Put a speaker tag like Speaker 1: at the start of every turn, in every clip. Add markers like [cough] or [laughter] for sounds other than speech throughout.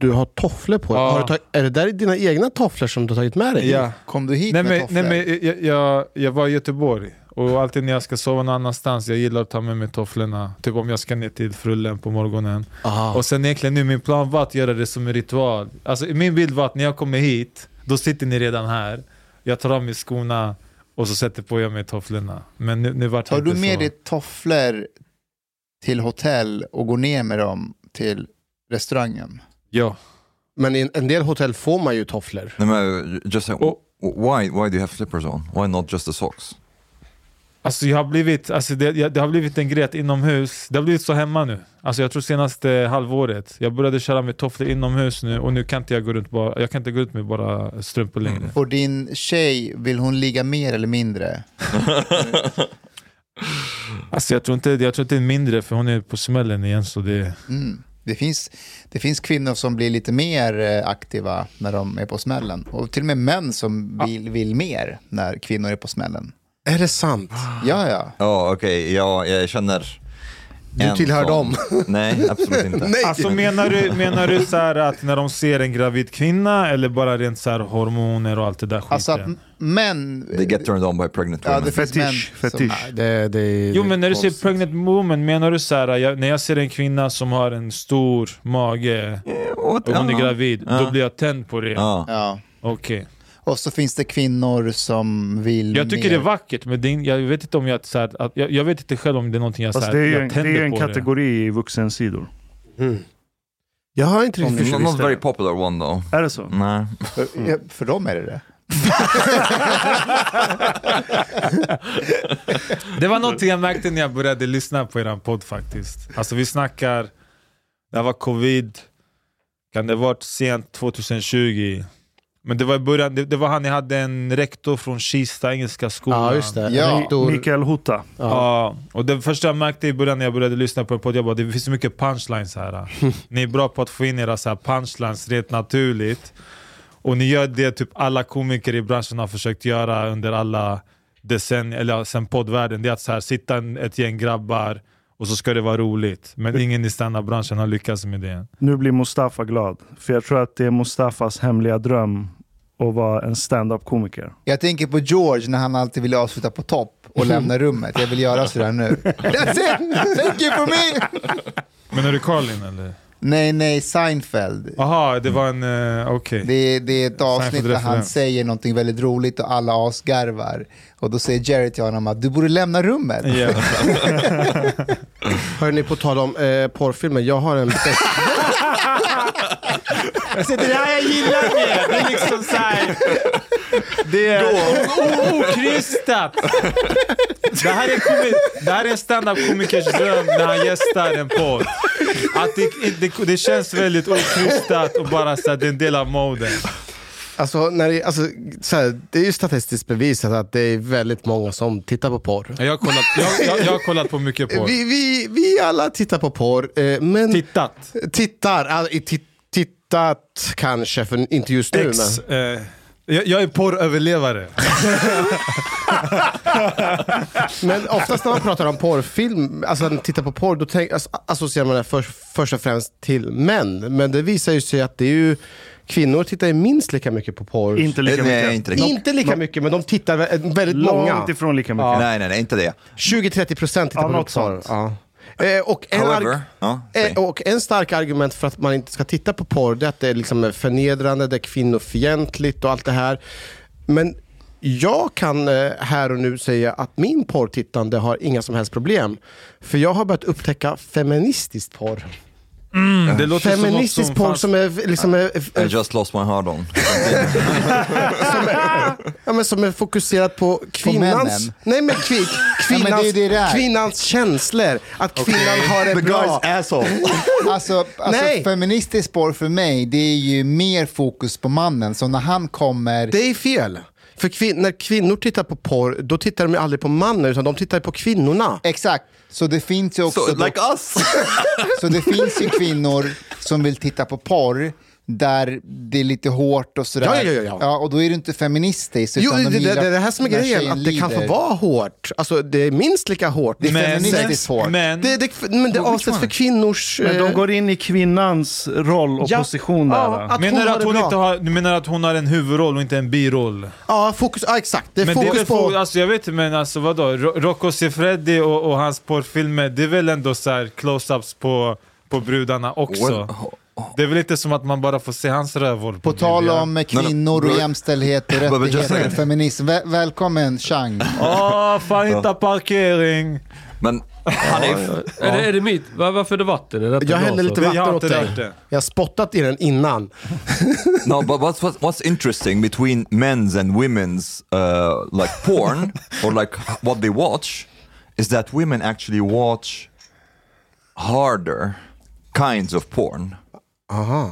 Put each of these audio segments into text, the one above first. Speaker 1: Du har tofflor på dig.
Speaker 2: Ja.
Speaker 1: Har du tag- är det där dina egna tofflor som du har tagit med dig?
Speaker 2: Ja.
Speaker 3: Kom du hit
Speaker 2: Nej,
Speaker 3: med
Speaker 2: men,
Speaker 3: tofflor?
Speaker 2: nej, men jag, jag, jag var i Göteborg och alltid när jag ska sova någon annanstans, jag gillar att ta med mig tofflorna. Typ om jag ska ner till frullen på morgonen.
Speaker 1: Ah.
Speaker 2: Och sen egentligen nu, min plan var att göra det som en ritual. Alltså min bild var att när jag kommer hit, då sitter ni redan här. Jag tar av mig skorna och så sätter på jag mig tofflorna. Men nu, nu vart det
Speaker 3: Tar du
Speaker 2: inte
Speaker 3: med
Speaker 2: så.
Speaker 3: dig tofflor till hotell och går ner med dem till restaurangen?
Speaker 2: Ja.
Speaker 1: Men i en- en del hotell får man ju tofflor.
Speaker 4: No, no, just say,
Speaker 2: Oh.
Speaker 4: why, why do you have slippers on? Why not just the socks?
Speaker 2: Alltså, jag har blivit, alltså det, jag, det har blivit en grej att inomhus, det har blivit så hemma nu. Alltså jag tror senaste halvåret, jag började köra med tofflor inomhus nu och nu kan inte jag gå runt, bara, jag kan inte gå runt med bara strumpor längre.
Speaker 3: Och din tjej, vill hon ligga mer eller mindre?
Speaker 2: Alltså jag tror, inte, jag tror inte det är mindre för hon är på smällen igen så det...
Speaker 3: Mm. Det, finns, det finns kvinnor som blir lite mer eh, aktiva när de är på smällen. Och till och med män som
Speaker 2: Ah.
Speaker 3: vill, vill mer när kvinnor är på smällen.
Speaker 1: Är det sant?
Speaker 2: Ah.
Speaker 3: Ja, ja.
Speaker 4: Ja, okej, ja, jag känner...
Speaker 1: Du
Speaker 4: en
Speaker 1: tillhör
Speaker 4: sån.
Speaker 1: dem.
Speaker 4: [laughs] Nej, absolut inte.
Speaker 1: Nej!
Speaker 2: Alltså menar du, menar du så här att när de ser en gravid kvinna eller bara rent så här hormoner och allt det där skiten?
Speaker 3: Alltså att m- män...
Speaker 4: They get turned on by pregnant
Speaker 3: Ja,
Speaker 4: women.
Speaker 3: det finns män
Speaker 5: Fetisch,
Speaker 3: som-
Speaker 5: fetisch.
Speaker 3: Nej,
Speaker 1: Det, det,
Speaker 2: Jo men när du
Speaker 3: konstigt.
Speaker 2: ser pregnant woman, menar du så här, jag, när jag ser en kvinna som har en stor mage
Speaker 4: What?
Speaker 2: och hon är
Speaker 4: Ja.
Speaker 2: gravid,
Speaker 4: Ja.
Speaker 2: då blir jag tänd på det?
Speaker 4: Ja.
Speaker 3: Ja.
Speaker 2: Okej.
Speaker 3: Och så finns det kvinnor som vill
Speaker 2: Jag tycker
Speaker 3: mer.
Speaker 2: det är vackert, men det är, in- jag vet inte om jag, så här, att, jag, jag vet inte själv om det är någonting jag, så
Speaker 5: Fast
Speaker 2: här,
Speaker 5: det är ju
Speaker 2: jag
Speaker 5: en, det är
Speaker 2: tänder
Speaker 5: ju en
Speaker 2: på
Speaker 5: kategori i vuxensidor.
Speaker 1: Mm. Jag har inte riktigt
Speaker 4: Not,
Speaker 1: förstått.
Speaker 4: not very popular one though.
Speaker 5: Är det så?
Speaker 4: Nej.
Speaker 3: För, ja, för dem är det det.
Speaker 2: Det var någonting jag märkte när jag började lyssna på er podd faktiskt. Alltså vi snackar, det här var covid, kan det ha varit sent 2020? Men det var i början, det, det var han, jag hade en rektor från Kista, Engelska skolan.
Speaker 1: Ja, just det.
Speaker 3: Ja.
Speaker 1: Rektor-
Speaker 5: Mikael Hutta.
Speaker 1: Ja.
Speaker 2: Ja, och det första jag märkte i början när jag började lyssna på en podd, jag bara det finns så mycket punchlines [laughs] här. Ni är bra på att få in era så här punchlines rent naturligt. Och ni gör det typ alla komiker i branschen har försökt göra under alla decennier, eller ja, sen poddvärlden. Det är att så här, sitta en, ett gäng grabbar och så ska det vara roligt. Men ingen i standardbranschen har lyckats med det än.
Speaker 5: Nu blir Mustafa glad. För jag tror att det är Mustafas hemliga dröm att vara en stand-up komiker
Speaker 3: Jag tänker på George när han alltid vill avsluta på topp och lämna rummet. Jag vill göra sådär nu. That's it! Thank you for me!
Speaker 2: Men är det Carlin eller?
Speaker 3: Nej, nej, Seinfeld.
Speaker 2: Aha, det var en... eh, Okej.
Speaker 3: Det är, det är ett avsnitt där han
Speaker 2: Seinfeld-referens.
Speaker 3: säger någonting väldigt roligt och alla asgarvar. Och då säger Jerry till honom att du borde lämna rummet.
Speaker 2: [laughs] Ja.
Speaker 1: Hörni, på tal om eh, porrfilmer. Jag har en bäst...
Speaker 2: Alltså, det här [laughs] jag gillar med det är liksom såhär... Det är o- okrystat. Det här är, komi- det här är en standup-komikers dröm när han gästar en podd. Att det, det, det känns väldigt okrystat och bara såhär, det är en del av moden.
Speaker 1: Alltså, när det, alltså, så här, det är ju statistiskt bevisat att det är väldigt många som tittar på porr.
Speaker 2: Jag har kollat, jag, jag, jag har kollat på mycket porr.
Speaker 1: Vi, vi, vi alla tittar på porr, eh, men
Speaker 2: Tittat.
Speaker 1: tittar, all, i ti- tittat kanske, för inte just nu.
Speaker 2: Ex,
Speaker 1: Men,
Speaker 2: eh, jag, jag är porröverlevare.
Speaker 1: men oftast när man pratar om porrfilm, alltså när man tittar på porr, då tänk, alltså, associerar man det för, först och främst till män. Men det visar ju sig att det är ju, kvinnor tittar ju minst lika mycket på porr.
Speaker 5: Inte lika
Speaker 4: Nej,
Speaker 5: mycket.
Speaker 4: inte riktigt.
Speaker 1: inte lika mycket, men de tittar vä- väldigt många.
Speaker 5: Långt ifrån lika mycket.
Speaker 4: Nej, nej, nej, inte det.
Speaker 1: 20-30 procent tittar
Speaker 5: Ja,
Speaker 1: på
Speaker 5: något
Speaker 1: porr.
Speaker 5: sånt.
Speaker 1: Ja. Eh, och, en
Speaker 4: However,
Speaker 1: arg-
Speaker 4: ja,
Speaker 1: eh,
Speaker 4: säg.
Speaker 1: och en stark argument för att man inte ska titta på porr det är att det är liksom förnedrande, det är kvinnofientligt och allt det här. Men jag kan eh, här och nu säga att min porrtittande har inga som helst problem. För jag har börjat upptäcka feministisk porr.
Speaker 2: Det låter som något
Speaker 1: Feministisk
Speaker 2: som
Speaker 1: porr
Speaker 2: fanns-
Speaker 1: som är, liksom, är,
Speaker 4: I
Speaker 1: är,
Speaker 4: just lost my hard on.
Speaker 1: ja, men som är fokuserad på kvinnans,
Speaker 3: männen.
Speaker 1: nej, men kvi,
Speaker 3: men
Speaker 1: kvinnans,
Speaker 3: det är ju det det är.
Speaker 1: kvinnans känslor. Att kvinnan har det bra.
Speaker 4: asshole.
Speaker 3: Alltså, alltså
Speaker 1: Nej.
Speaker 3: feministiskt spår för mig, det är ju mer fokus på mannen. Så när han kommer...
Speaker 1: Det är fel. För kvin- när kvinnor tittar på porr, då tittar de ju aldrig på mannen, utan de tittar ju på kvinnorna.
Speaker 3: Exakt, så det finns ju också...
Speaker 4: So,
Speaker 3: då-
Speaker 4: like us!
Speaker 3: Så det finns ju kvinnor som vill titta på porr där det är lite hårt och sådär.
Speaker 1: Ja, ja, ja, ja.
Speaker 3: och då är du inte feministisk.
Speaker 1: Jo,
Speaker 3: Utan
Speaker 1: det,
Speaker 3: de
Speaker 1: det, det,
Speaker 3: gillar
Speaker 1: det är det här som är
Speaker 3: när
Speaker 1: grejen,
Speaker 3: tjejen
Speaker 1: att det kan få
Speaker 3: lider.
Speaker 1: vara hårt. Alltså det är minst lika hårt.
Speaker 3: Det är
Speaker 2: Men-
Speaker 3: feministiskt hårt.
Speaker 2: Men,
Speaker 1: Det, det, men det
Speaker 2: Which
Speaker 1: avsätts för
Speaker 2: one?
Speaker 1: kvinnors...
Speaker 5: Men de
Speaker 1: eh,
Speaker 5: går in i kvinnans roll och
Speaker 1: Ja.
Speaker 5: position där.
Speaker 1: Ja,
Speaker 5: va?
Speaker 1: att-
Speaker 2: menar
Speaker 1: hon
Speaker 2: du
Speaker 1: har
Speaker 2: att
Speaker 1: det
Speaker 2: hon
Speaker 1: bra.
Speaker 2: inte har, du menar att hon har en huvudroll och inte en biroll?
Speaker 1: ja, fokus, ja, exakt. Det är
Speaker 2: Men det är
Speaker 1: fokus
Speaker 2: väl
Speaker 1: på...
Speaker 2: fo- alltså jag vet inte men alltså vadå, Ro- Rocco Siffredi och, och hans porrfilmer, det är väl ändå så här close-ups på, på brudarna också? Det är väl inte som att man bara får se hans rövhål
Speaker 3: På tal om kvinnor och
Speaker 4: bro-
Speaker 3: jämställdhet och
Speaker 4: But just
Speaker 3: rättigheter
Speaker 4: saying.
Speaker 3: och feminism. Väl, välkommen Chang.
Speaker 2: Åh, Ah, fan hitta parkering!
Speaker 4: Men Hanif,
Speaker 6: Är, det, är det mitt? Var, varför är det vatten? Är det
Speaker 1: Jag häller lite
Speaker 2: Jag har
Speaker 1: vatten åt
Speaker 2: inte
Speaker 1: dig.
Speaker 2: rört det.
Speaker 1: Jag har spottat i den innan.
Speaker 4: no, but what's, what's, what's interesting between men's and women's uh, like
Speaker 2: [laughs]
Speaker 4: porn or like what they watch is that women actually watch harder kinds of porn.
Speaker 1: Aha.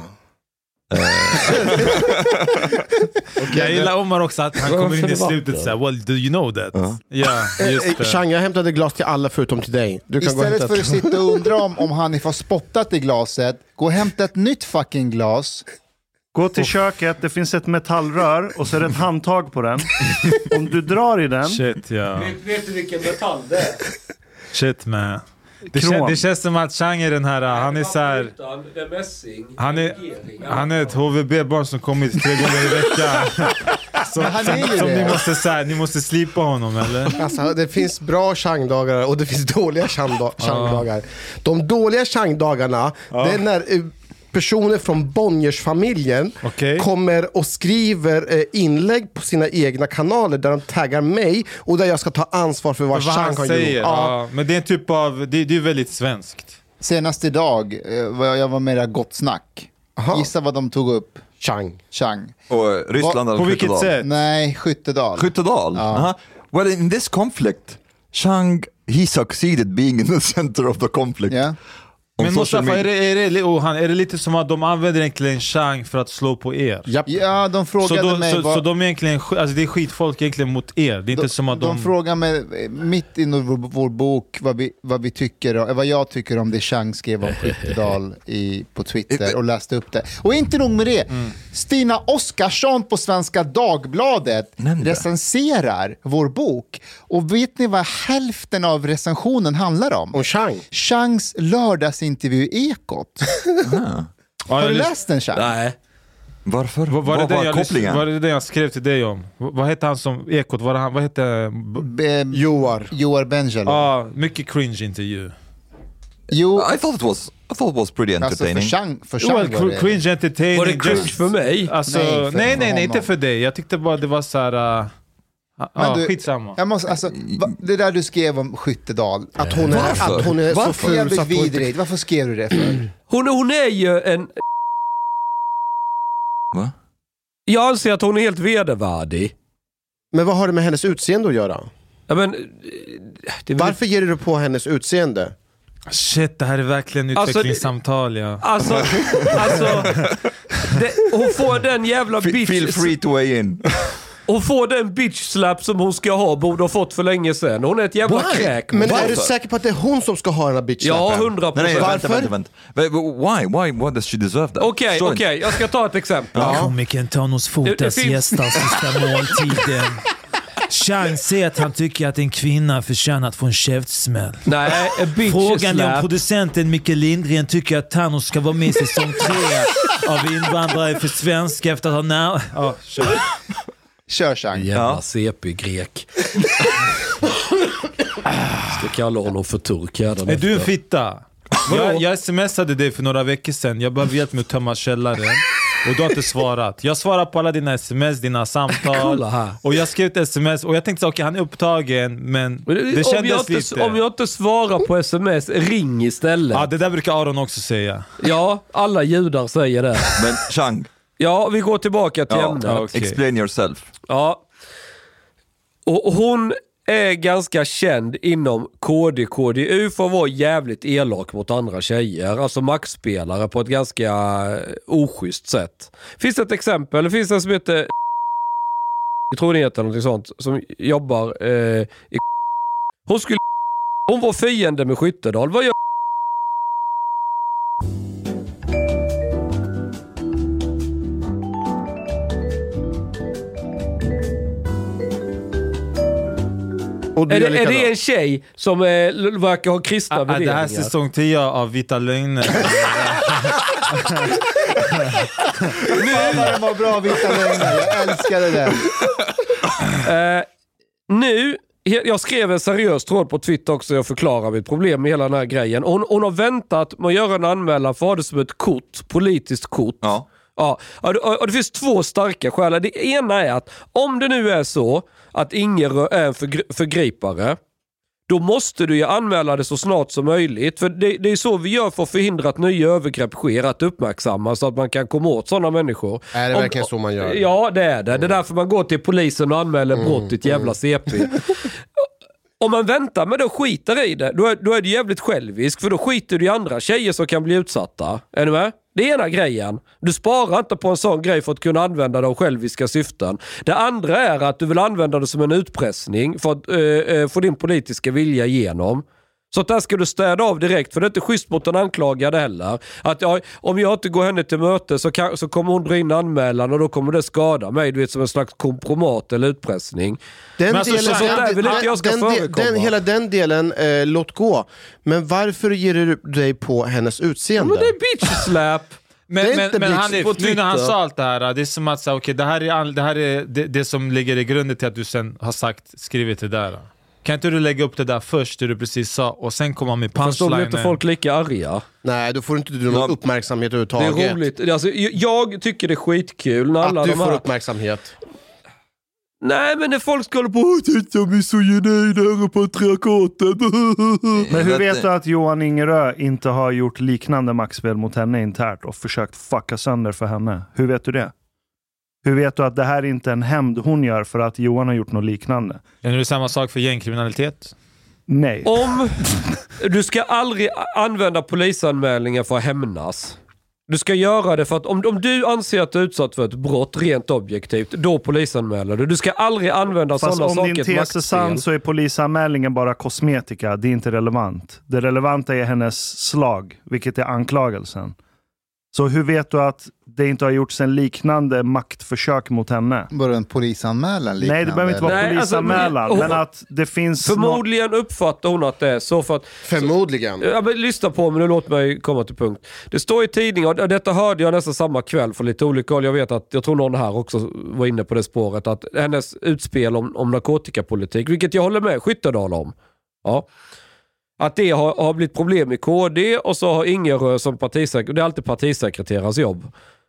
Speaker 2: Jag gillar Omar också att han kommer in i
Speaker 6: Varför
Speaker 2: slutet
Speaker 6: vatten?
Speaker 2: såhär, well do you know that? Ja, just
Speaker 1: Eh,
Speaker 2: det.
Speaker 1: Chang, jag hämtade glas till alla förutom till dig. Du kan gå
Speaker 3: Istället
Speaker 1: och
Speaker 3: för
Speaker 1: hämta
Speaker 3: att
Speaker 1: ett.
Speaker 3: sitta och undra om, om Hanif har spottat i glaset, gå och hämta ett nytt fucking glas.
Speaker 5: Gå till köket, det finns ett metallrör och så är det ett handtag på den. Om du drar i den,
Speaker 2: Shit ja.
Speaker 6: Vet du vilken metall det är?
Speaker 2: Shit man. Det,
Speaker 5: Krom.
Speaker 2: kän, det känns som att Chang är den här, han är såhär,
Speaker 6: Det är mässing.
Speaker 2: han är, han är ett HVB-barn som kommit tre gånger
Speaker 1: [laughs]
Speaker 2: i veckan. Som,
Speaker 3: han är ju
Speaker 2: som, som
Speaker 3: det.
Speaker 2: ni måste såhär, ni måste slipa honom eller?
Speaker 1: Alltså, det finns bra Chang-dagar och det finns dåliga Chang-da-
Speaker 2: Ah.
Speaker 1: Chang-dagar. De dåliga Chang-dagarna, det är när eh, personer från Bonniersfamiljen
Speaker 2: Okej.
Speaker 1: kommer och skriver eh, inlägg på sina egna kanaler där de taggar mig och där jag ska ta ansvar för vad,
Speaker 2: Vad
Speaker 1: Chang
Speaker 2: han
Speaker 1: har
Speaker 2: säger.
Speaker 1: gjort. Ja.
Speaker 2: Ja. Men det är en typ av, det, det är väldigt svenskt.
Speaker 3: Senast idag eh, var jag var med i det här Gott Snack.
Speaker 1: Aha.
Speaker 3: Gissa vad de tog upp,
Speaker 1: Chang.
Speaker 3: Chang.
Speaker 4: Och Oh, uh, Ryssland
Speaker 2: På
Speaker 4: eller
Speaker 2: vilket
Speaker 4: Skyttedal?
Speaker 2: sätt?
Speaker 3: Nej, Skyttedal.
Speaker 4: Skyttedal? Uh-huh. Well, in this conflict, Chang, he succeeded being in the [laughs] center of the conflict.
Speaker 3: Ja.
Speaker 4: On
Speaker 2: Men
Speaker 4: social
Speaker 2: Mustafa, är
Speaker 4: media.
Speaker 2: det, är, det, li- oh, han, är det lite som att de använder egentligen Chang för att slå på er?
Speaker 1: Japp.
Speaker 3: Ja, de
Speaker 2: Så,
Speaker 3: frågade
Speaker 2: då,
Speaker 3: mig
Speaker 2: så,
Speaker 3: vad...
Speaker 2: så de är egentligen, sk- alltså det är skitfolk egentligen mot er? Det är inte som att de...
Speaker 3: frågar mig eh, mitt i vår, vår bok vad, vi, vad, vi tycker, om- eh, vad jag tycker om det Chang skrev om Skyttedal i, på Twitter och läste upp det. Och inte nog med det.
Speaker 2: Mm.
Speaker 3: Stina Oskarsson på Svenska Dagbladet
Speaker 4: Nämnde.
Speaker 3: recenserar vår bok. Och vet ni vad hälften av recensionen handlar om?
Speaker 1: Om Chang.
Speaker 3: Changs lördagsintervju i Ekot.
Speaker 2: Ja,
Speaker 3: Har
Speaker 2: jag
Speaker 3: du
Speaker 2: lys-
Speaker 3: läst den Chang?
Speaker 6: Nej.
Speaker 4: Varför?
Speaker 2: Vad- Var det,
Speaker 4: Vad
Speaker 2: det,
Speaker 4: var
Speaker 2: jag lys-
Speaker 4: kopplingen?
Speaker 2: var det det jag skrev till dig om? V- Vad hette han som Ekot? Var det han, vad hette... B-
Speaker 3: Be-
Speaker 1: Joar.
Speaker 3: Joar Bengel.
Speaker 2: Ja, mycket cringe intervju.
Speaker 3: Jo,
Speaker 4: I thought it was, I thought it was pretty
Speaker 3: alltså för
Speaker 4: entertaining.
Speaker 3: Chang, för Chang
Speaker 2: Well,
Speaker 3: var
Speaker 2: cr-
Speaker 3: det.
Speaker 2: cringe entertaining.
Speaker 6: Var det cringe
Speaker 2: just-
Speaker 6: för mig?
Speaker 2: Alltså,
Speaker 3: Nej, för-
Speaker 2: nej, nej,
Speaker 3: för
Speaker 2: nej, inte
Speaker 3: honom.
Speaker 2: för dig. Jag tyckte bara det var såhär... Uh, ja,
Speaker 3: du-
Speaker 2: ah, skitsamma.
Speaker 3: Jag måste, alltså, va, det där du skrev om Skyttedal,
Speaker 1: Att hon är,
Speaker 4: Varför?
Speaker 1: att hon är så
Speaker 4: Varför?
Speaker 1: ful
Speaker 3: jävligt
Speaker 1: så att hon inte...
Speaker 3: vidrigt. Varför skrev du det för?
Speaker 6: Hon, hon är ju en...
Speaker 4: Va?
Speaker 6: Jag anser att hon är helt vedervärdig.
Speaker 1: Men vad har det med hennes utseende att göra?
Speaker 6: Ja, men, eh, det är väl-
Speaker 1: Varför ger du dig på hennes utseende?
Speaker 2: Shit, det här är verkligen
Speaker 6: Alltså, det-
Speaker 2: utvecklingssamtal ja.
Speaker 6: Alltså, alltså det, hon får den jävla
Speaker 4: Fe- Feel
Speaker 6: bitch...
Speaker 4: free to weigh in.
Speaker 6: Hon får den bitch slap som hon ska ha, borde ha fått för länge sedan. Hon är ett jävla
Speaker 4: Why?
Speaker 6: kräk.
Speaker 1: Men är
Speaker 4: Varför?
Speaker 1: du säker på att det är hon som ska ha den här bitchslappen?
Speaker 6: Ja, hundra
Speaker 4: Nej, nej,
Speaker 6: procent.
Speaker 4: vänta, vänta, vänta. Wait, but Why? Why? Why does she deserve that?
Speaker 6: Okej,
Speaker 4: Förstår
Speaker 6: okej,
Speaker 4: inte.
Speaker 6: jag ska ta ett exempel.
Speaker 2: Komikern Thanos
Speaker 6: Det- det
Speaker 2: Fotas
Speaker 6: finns-
Speaker 2: gästar sista måltiden. Chang säger att han tycker att en kvinna förtjänar att få en käftsmäll.
Speaker 6: Nej, en bitch
Speaker 2: Frågan är om
Speaker 6: slap.
Speaker 2: producenten Micke Lindgren tycker att Thanos ska vara med i säsong tre av Invandrare för svenska efter att ha när... Ja, kör.
Speaker 3: Kör Chang.
Speaker 6: Jävla CP-grek. Ska kalla honom för turk
Speaker 2: Är du en fitta? Jag, jag smsade dig för några veckor sedan, jag behöver hjälp med att tömma källaren. Och du har inte svarat. Jag svarar på alla dina sms, dina samtal.
Speaker 6: Kolla här.
Speaker 2: Och jag skrev ett sms och jag tänkte så, okej han är upptagen, men det
Speaker 6: om, jag
Speaker 2: kändes
Speaker 6: inte,
Speaker 2: lite...
Speaker 6: om jag inte svarar på sms, ring istället.
Speaker 2: Ja, det där brukar Aron också säga.
Speaker 6: Ja, alla judar säger det.
Speaker 4: Men Chang,
Speaker 6: Ja, vi går tillbaka till
Speaker 4: ja,
Speaker 6: ämnet.
Speaker 2: ja, okej.
Speaker 4: Oh, explain yourself.
Speaker 6: Ja. Och hon är ganska känd inom KD, KDU för att vara jävligt elak mot andra tjejer. Alltså maxspelare på ett ganska eh, oschysst sätt. Finns det ett exempel? Det finns en som heter jag tror det heter någonting sånt, som jobbar eh, i Hon skulle Hon var fiende med Skyttedal. Vad gör
Speaker 1: Och du
Speaker 6: är
Speaker 1: gör
Speaker 6: det, är
Speaker 1: likadant.
Speaker 6: det en tjej som eh, l- verkar ha kristna
Speaker 2: Ah, ah, det
Speaker 6: värderingar?
Speaker 2: här är säsong 10 av Vita lögner.
Speaker 3: Fan vad den var bra, Vita lögner. Jag älskade den.
Speaker 6: Eh, nu, he- jag skrev en seriös tråd på Twitter också, jag förklarar mitt problem med hela den här grejen. Hon, hon har väntat med att göra en anmälan för att ha det som ett kort, politiskt kort.
Speaker 4: Ja.
Speaker 6: Ja, och det, och det finns två starka skäl. Det ena är att om det nu är så att Inge rö- är en förgri- förgripare, då måste du ju anmäla det så snart som möjligt. För det, det är så vi gör för att förhindra att nya övergrepp sker, att uppmärksamma så att man kan komma åt sådana människor.
Speaker 1: Nej, det
Speaker 6: Om-
Speaker 1: verkar så man gör. Mm.
Speaker 6: Ja, det är det. Det är därför man går till polisen och anmäler brott i ett jävla CP. Om man väntar men då skiter i det, då är, då är du jävligt självisk. För då skiter du i andra tjejer som kan bli utsatta. Är du med? Det är ena grejen. Du sparar inte på en sån grej för att kunna använda det av själviska syften. Det andra är att du vill använda det som en utpressning för att eh, eh, få din politiska vilja igenom. Så att där ska du städa av direkt, för det är inte schysst mot den anklagade heller. Att ja, om jag inte går henne till möte så, kan, så kommer hon dra in anmälan och då kommer det skada mig, du vet som en slags kompromat eller utpressning.
Speaker 1: Den
Speaker 2: Men alltså,
Speaker 1: delen,
Speaker 2: så
Speaker 6: där vill inte jag ska
Speaker 1: den, den,
Speaker 6: förekomma.
Speaker 1: den, Hela den delen, eh, låt gå. Men varför ger du dig på hennes utseende?
Speaker 6: Men det är bitch slap!
Speaker 2: Men,
Speaker 1: Det är
Speaker 2: men,
Speaker 1: inte
Speaker 2: men
Speaker 1: Blix
Speaker 2: han,
Speaker 1: på
Speaker 2: nu när han
Speaker 1: Twitter.
Speaker 2: sa allt det här, det är som att så, här, okej, det här är, all, det, här är det, det som ligger i grunden till att du sen har sagt, skrivit det där. Kan inte du lägga upp det där först, det du precis sa, och sen komma med
Speaker 6: Fast då blir inte
Speaker 2: punchlinen?
Speaker 6: folk lika arga.
Speaker 1: Nej, då får du inte du någon
Speaker 4: Ja.
Speaker 1: uppmärksamhet
Speaker 6: Det
Speaker 1: överhuvudtaget.
Speaker 6: är roligt. Alltså, jag- jag tycker det är skitkul när alla
Speaker 1: Att du
Speaker 6: de
Speaker 1: får
Speaker 6: här...
Speaker 1: uppmärksamhet.
Speaker 6: Nej, men när folk ska hålla på och titta misogynin här och patriarkatet. [laughs]
Speaker 5: Men
Speaker 4: That-
Speaker 5: hur
Speaker 6: eh,
Speaker 4: eh,
Speaker 5: vet du att Johan Ingerö inte har gjort liknande maktspel mot henne internt och försökt fucka sönder för henne? Hur vet du det? Hur vet du att det här är inte är en hämnd hon gör för att Johan har gjort något liknande?
Speaker 2: Är det samma sak för gängkriminalitet?
Speaker 5: Nej.
Speaker 6: Om du ska aldrig använda polisanmälningar för att hämnas. Du ska göra det för att om, om du anser att du är utsatt för ett brott rent objektivt, då polisanmäler du. Du ska aldrig använda
Speaker 5: Fast
Speaker 6: sådana
Speaker 5: om
Speaker 6: saker
Speaker 5: din
Speaker 6: till
Speaker 5: tes är sann
Speaker 6: maktspel.
Speaker 5: så är polisanmälningen bara kosmetika. Det är inte relevant. Det relevanta är hennes slag, vilket är anklagelsen. Så hur vet du att det inte har gjorts en liknande maktförsök mot henne?
Speaker 3: Bara en polisanmälan liknande?
Speaker 5: Nej, det behöver inte vara
Speaker 6: Nej, alltså,
Speaker 5: polisanmälan.
Speaker 6: men-
Speaker 5: men att det finns... nå-
Speaker 6: Förmodligen uppfattar hon att det är så för att
Speaker 1: Förmodligen.
Speaker 6: Ja, men lyssna på mig nu, låt mig komma till punkt. Det står i tidningen, och detta hörde jag nästan samma kväll från lite olika håll. Jag vet att, jag tror någon här också var inne på det spåret, att hennes utspel om, om narkotikapolitik, vilket jag håller med Skyttedal om. Ja. Att det har, har blivit problem i KD och så har Ingerö som partisekreterare, det är alltid partisekreterarens jobb.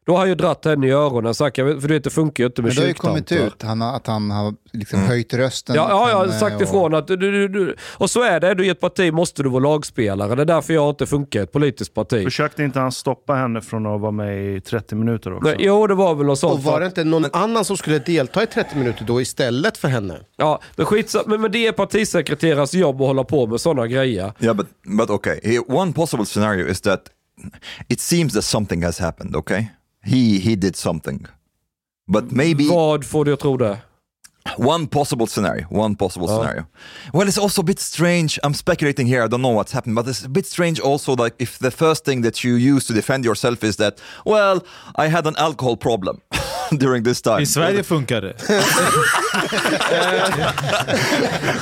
Speaker 6: Då har han ju dratt henne i öronen och sagt, jag vet- för du vet det funkar ju inte med
Speaker 3: Men det har ju
Speaker 6: kyrktanter.
Speaker 3: kommit ut han har, att han har liksom höjt rösten.
Speaker 6: Ja, ja, jag har
Speaker 3: Men, eh,
Speaker 6: sagt
Speaker 3: och-
Speaker 6: ifrån att du, du, du, och så är det. Är du i ett parti måste du vara lagspelare. Det är därför jag inte funkar i ett politiskt parti.
Speaker 5: Försökte inte han stoppa henne från att vara med i 30 minuter också?
Speaker 6: Nej, jo, det var väl något sånt.
Speaker 1: Och var det inte någon annan som skulle delta i 30 minuter då istället för henne?
Speaker 6: Ja, men, skitsa, men, men det är partisekreterarens jobb att hålla på med sådana grejer.
Speaker 4: Yeah, but but okay. Here, one possible scenario is that it seems that something has happened. Okay, he he did something, but maybe
Speaker 6: Vad får du att tro det?
Speaker 4: one possible scenario. One possible scenario. Well, it's also a bit strange. I'm speculating here. I don't know what's happened, but it's a bit strange also. Like if the first thing that you use to defend yourself is that, well, I had an alcohol problem [laughs] during this time.
Speaker 2: I Sverige funkar det.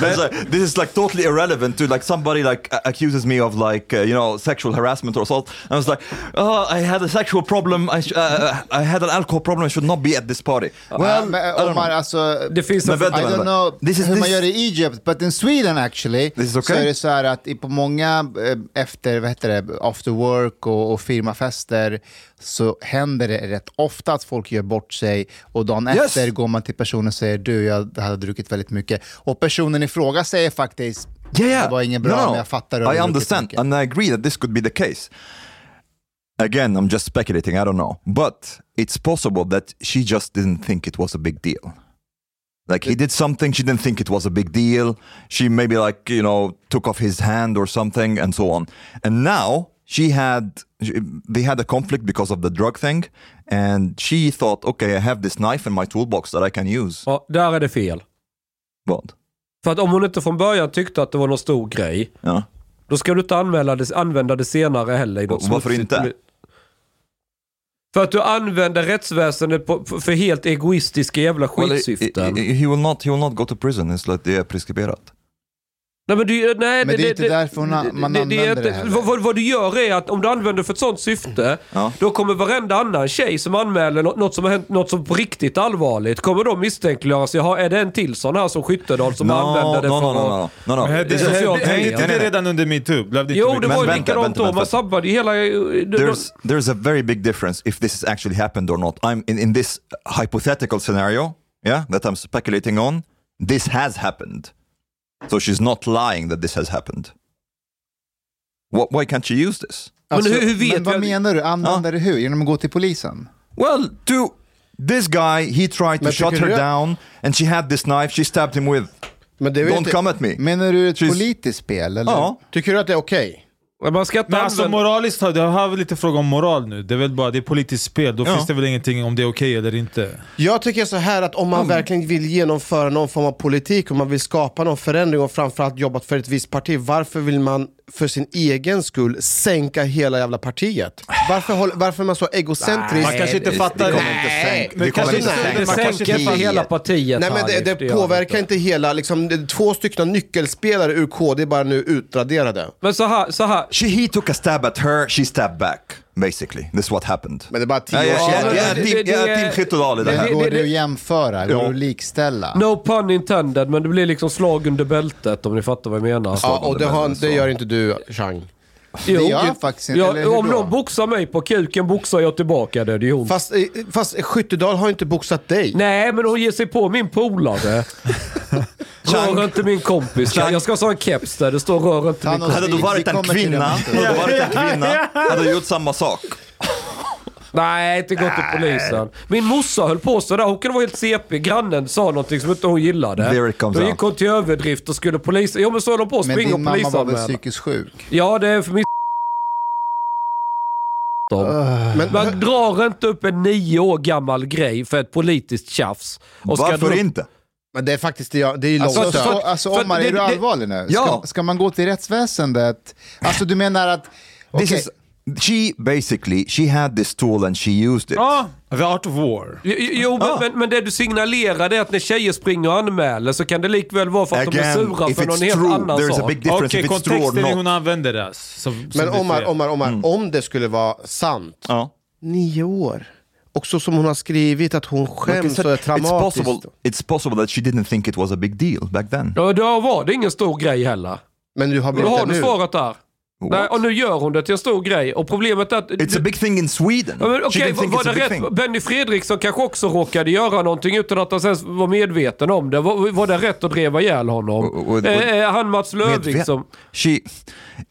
Speaker 4: It's like, this is like totally irrelevant to like somebody like a- accuses me of like uh, you know sexual harassment or assault. And I was like, oh, I had a sexual problem. I sh- uh, uh, I had an alcohol problem. I should not be at this party.
Speaker 3: Well,
Speaker 4: I
Speaker 3: men,
Speaker 4: don't
Speaker 3: om man,
Speaker 4: know.
Speaker 3: alltså,
Speaker 6: Det finns en...
Speaker 4: Men vänta,
Speaker 3: I don't
Speaker 4: vänta.
Speaker 3: know
Speaker 4: This is-
Speaker 3: hur man
Speaker 4: this-
Speaker 3: gör i Egypt, but in Sweden actually,
Speaker 4: This is okay.
Speaker 3: så är det så här att i- på många eh, efter, vad heter det, after work och, och firmafester så händer det rätt ofta att folk gör bort sig och dagen
Speaker 4: Yes.
Speaker 3: efter går man till personen och säger du, jag hade druckit väldigt mycket. Och personen i fråga säger faktiskt,
Speaker 4: Yeah, yeah.
Speaker 3: det var inget bra,
Speaker 4: No, no.
Speaker 3: men jag fattar. hur jag
Speaker 4: I
Speaker 3: druckit
Speaker 4: understand,
Speaker 3: mycket."
Speaker 4: and I agree that this could be the case. Again, I'm just speculating. I don't know, but it's possible that she just didn't think it was a big deal. Like he did something, she didn't think it was a big deal. She maybe like you know took off his hand or something, and so on. And now she had they had a conflict because of the drug thing, and she thought, okay, I have this knife in my toolbox that I can use.
Speaker 6: Ja, där är det fel.
Speaker 4: What?
Speaker 6: För att om hon inte från början tyckte att det var någon stor grej,
Speaker 4: Ja.
Speaker 6: då ska du inte använda det, använda det senare heller. I något
Speaker 4: Varför
Speaker 6: smutsigt-
Speaker 4: inte?
Speaker 6: För att du använder rättsväsendet på, för för helt egoistiska jävla
Speaker 4: Well, he,
Speaker 6: skitsyften.
Speaker 4: he- he will not. He will not go to prison. It's like det är preskriberat.
Speaker 6: Nej, men, du, eh, nej,
Speaker 3: Men det är inte därför hon a- man använder det heller.
Speaker 6: vad, vad- vad du gör är att om du använder för ett sånt syfte,
Speaker 4: Ja.
Speaker 6: då kommer varenda annan tjej som anmäler något, något som har hänt, något som på riktigt allvarligt, kommer då misstänkliggöras. Jaha, är det en till sån här som Skyttedal som
Speaker 4: no,
Speaker 6: använder det
Speaker 4: no,
Speaker 6: för
Speaker 4: no, no,
Speaker 6: att...
Speaker 4: no, no, no.
Speaker 2: Men
Speaker 6: Det
Speaker 2: det,
Speaker 6: är
Speaker 2: det,
Speaker 6: socialt
Speaker 2: det,
Speaker 6: medier.
Speaker 2: inte det redan under metoo? Blev det inte
Speaker 6: Jo,
Speaker 2: metoo?
Speaker 6: det var ju
Speaker 4: vänta,
Speaker 6: likadant
Speaker 4: vänta,
Speaker 6: då. Man
Speaker 4: vänta.
Speaker 6: sabbade ju hela...
Speaker 4: there's there's a very big difference if this is actually happened or not. I'm in, in this hypothetical scenario, yeah, that I'm speculating on. This has happened, so she's not lying that this has happened. What, why can't she use this?
Speaker 6: Men hur, hur vet
Speaker 3: Alltså, men vad
Speaker 6: jag-
Speaker 3: menar du? Använder det hur? Genom att gå till polisen?
Speaker 4: Well, to this guy, he tried to
Speaker 1: Men
Speaker 4: shut
Speaker 1: tycker
Speaker 4: her
Speaker 1: du-
Speaker 4: down, and she had this knife. She stabbed him with.
Speaker 1: Men det är väl
Speaker 4: Don't
Speaker 1: inte,
Speaker 4: come at me.
Speaker 3: Menar du ett
Speaker 4: Precis.
Speaker 3: politiskt spel? Eller?
Speaker 4: Ja.
Speaker 1: Tycker du att det är okej?
Speaker 6: Men Man ska inte
Speaker 2: Men alltså
Speaker 6: använda...
Speaker 2: moraliskt, har- det har väl lite fråga om moral nu. Det är väl bara det är politiskt spel, då
Speaker 4: Ja.
Speaker 2: finns det väl ingenting om det är okej eller inte.
Speaker 1: Jag tycker så här att om man verkligen vill genomföra någon form av politik och man vill skapa någon förändring och framförallt jobbat för ett visst parti, varför vill man för sin egen skull sänka hela jävla partiet? Varför, håll, varför är man så egocentrisk?
Speaker 2: Man kanske inte
Speaker 4: det-
Speaker 2: fattar
Speaker 4: det kommer
Speaker 2: det.
Speaker 4: inte sänk-
Speaker 1: Men
Speaker 4: det kommer
Speaker 1: kanske
Speaker 4: inte
Speaker 1: inte-
Speaker 2: man
Speaker 6: Det
Speaker 4: sänka.
Speaker 2: kanske
Speaker 6: sänker
Speaker 2: inte
Speaker 6: inte hela
Speaker 2: ger.
Speaker 6: partiet.
Speaker 1: Nej men
Speaker 6: Hanif,
Speaker 1: det, det
Speaker 6: gör
Speaker 1: påverkar inte
Speaker 2: alltså.
Speaker 1: hela, liksom, det, två stycken nyckelspelare ur KD är bara nu utraderade.
Speaker 6: Men så här, så här.
Speaker 4: She, he took a stab at her. She stabbed back. Basically, this is what happened.
Speaker 1: Men det är bara tio
Speaker 4: Ja,
Speaker 1: år
Speaker 4: ja,
Speaker 1: senare.
Speaker 4: ja, ja,
Speaker 6: det-
Speaker 4: team-
Speaker 6: det-
Speaker 4: ja, team Skyttedal i det
Speaker 3: Men
Speaker 4: här.
Speaker 6: det-
Speaker 3: Går
Speaker 6: det-
Speaker 3: det att jämföra? Går
Speaker 4: Ja.
Speaker 3: det att likställa?
Speaker 6: No pun intended, men det blir liksom slag under bältet om ni fattar vad jag menar.
Speaker 1: Ja, och det, har,
Speaker 4: Så.
Speaker 1: det gör inte du, Chang.
Speaker 6: Jo,
Speaker 3: det gör jag faktiskt inte,
Speaker 6: Ja,
Speaker 3: eller hur
Speaker 6: om
Speaker 3: då?
Speaker 6: någon boxar mig på kuken boxar jag tillbaka det. Det är hon.
Speaker 1: Fast, eh, fast Skyttedal har ju inte boxat dig.
Speaker 6: Nej, men hon ger sig på min
Speaker 3: [laughs]
Speaker 6: polare. rör inte min kompis.
Speaker 4: Chang.
Speaker 6: Jag ska ha en keps där det står rör inte min
Speaker 3: Thanos,
Speaker 6: kompis.
Speaker 4: Hade
Speaker 3: Alltså, vi-
Speaker 4: du
Speaker 3: vi
Speaker 4: varit en
Speaker 3: kommer till
Speaker 4: kvinna,
Speaker 3: det om en stund.
Speaker 4: hade du varit en kvinna, hade du gjort samma sak.
Speaker 6: Nej, inte gått till polisen. Min morsa höll på sådär. Hon kunde vara helt CP. Grannen sa någonting som inte hon
Speaker 4: There
Speaker 6: gillade.
Speaker 4: it comes
Speaker 6: Då
Speaker 4: out.
Speaker 6: gick hon till överdrift och skulle polisen... Jo men så höll hon på.
Speaker 3: Men
Speaker 6: Spring och
Speaker 3: din mamma var väl
Speaker 6: polisanmäla.
Speaker 3: psykiskt sjuk?
Speaker 6: Ja, det är för min Dem.
Speaker 4: Ah.
Speaker 1: Men,
Speaker 6: Man drar inte upp en nio år gammal grej för ett politiskt tjafs. Och ska dra
Speaker 4: Varför
Speaker 6: upp-
Speaker 4: inte?
Speaker 1: men det är faktiskt, det är- det är långt
Speaker 3: Alltså,
Speaker 1: sökt.
Speaker 3: så,
Speaker 6: för-
Speaker 3: alltså
Speaker 6: för
Speaker 3: Omar,
Speaker 6: det-
Speaker 3: är du
Speaker 6: det-
Speaker 3: allvarlig nu? Ska,
Speaker 4: Ja.
Speaker 3: ska man gå till rättsväsendet? Alltså du menar att...
Speaker 4: This
Speaker 3: okej,
Speaker 4: is, she basically, she had this tool and she used it.
Speaker 2: Ja, the art of war.
Speaker 6: Jo, Jo,
Speaker 4: Ah.
Speaker 6: men, men, men det du signalerar är att när tjejer springer och anmäler så kan det likväl vara för att de är
Speaker 4: Again,
Speaker 6: sura
Speaker 4: if
Speaker 6: för någon
Speaker 4: it's
Speaker 6: helt
Speaker 4: true,
Speaker 6: annan
Speaker 4: there's a
Speaker 6: sak.
Speaker 4: big
Speaker 2: Okej,
Speaker 4: difference if it's true or
Speaker 2: kontexten är hur hon
Speaker 4: not.
Speaker 2: använder det. alltså, Som, som
Speaker 1: Men
Speaker 2: det
Speaker 1: Omar,
Speaker 2: sker. Mm.
Speaker 1: Omar, Omar, om det skulle vara sant.
Speaker 4: Ja.
Speaker 1: Nio år. Och så som hon har skrivit att hon
Speaker 4: Like I
Speaker 3: Mm,
Speaker 1: skäms
Speaker 4: said,
Speaker 1: och är
Speaker 4: It's
Speaker 1: traumatisk.
Speaker 4: possible, it's possible that she didn't think it was a big deal back then.
Speaker 6: Ja, då var det ingen stor grej heller.
Speaker 1: Men du har
Speaker 6: Men då
Speaker 1: blivit
Speaker 6: har
Speaker 1: det
Speaker 6: du
Speaker 1: nu.
Speaker 6: svaret där. Nej, och nu gör hon det till en stor grej. Och problemet är att...
Speaker 4: It's a big thing in Sweden.
Speaker 6: Ja, men
Speaker 4: she
Speaker 6: Okej,
Speaker 4: didn't think
Speaker 6: var
Speaker 4: it's
Speaker 6: det
Speaker 4: a big
Speaker 6: rätt?
Speaker 4: thing.
Speaker 6: Benny Fredriksson kanske också råkade göra någonting utan att han ens var medveten om det. Var, var det rätt att driva ihjäl honom?
Speaker 4: Och- och- och-
Speaker 6: eh, han Mats Löfving
Speaker 4: Medvet-
Speaker 6: som...
Speaker 4: She,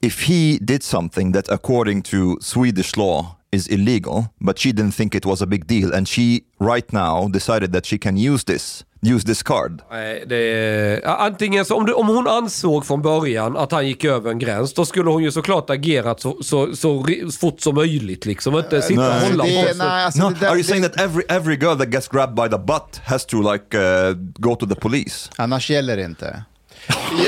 Speaker 4: if he did something that according to Swedish law is illegal, but she didn't think it was a big deal, and she right now decided that she can use this, use this card.
Speaker 6: Nej, det är, ja, antingen så, om, du, om hon ansåg från början att han gick över en gräns, då skulle hon ju såklart agerat så, så, så, ri- fort som möjligt liksom. Inte sitta och
Speaker 4: Nej.
Speaker 6: hålla
Speaker 3: det,
Speaker 6: på.
Speaker 3: är- nej, alltså,
Speaker 4: No,
Speaker 3: det där,
Speaker 4: are you
Speaker 3: det,
Speaker 4: saying that every every girl that gets grabbed by the butt has to like uh, go to the police?
Speaker 3: Annars gäller det inte.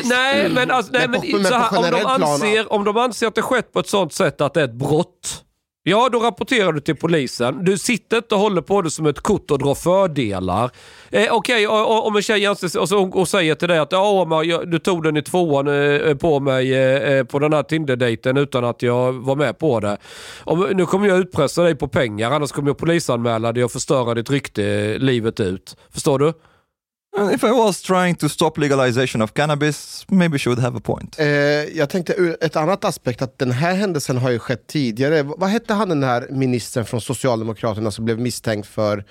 Speaker 6: Nej, men, alltså, nej,
Speaker 1: Mm. Men
Speaker 6: men,
Speaker 1: på- men
Speaker 6: så
Speaker 1: på
Speaker 6: här, om,
Speaker 1: generell
Speaker 6: de
Speaker 1: plan-
Speaker 6: anser, om de anser att det skett på ett sånt sätt att det är ett brott, ja då rapporterar du till polisen. Du sitter inte och håller på det som ett kort och drar fördelar. Eh, Okej, o- o- om en tjej anser, sig- och, så, och säger till dig att ja, Omar, jag, du tog den i tvåan eh, på mig eh, eh, på den här Tinder-dejten utan att jag var med på det. Om, nu kommer jag utpressa dig på pengar, annars kommer jag polisanmäla dig och förstöra ditt rykte eh, livet ut. Förstår du?
Speaker 4: And if I was trying to stop legalization of cannabis, maybe she would have a point.
Speaker 1: Eh, jag tänkte ur ett annat aspekt att den här händelsen har ju skett tidigare. V- Vad hette han den här ministern från Socialdemokraterna som blev misstänkt för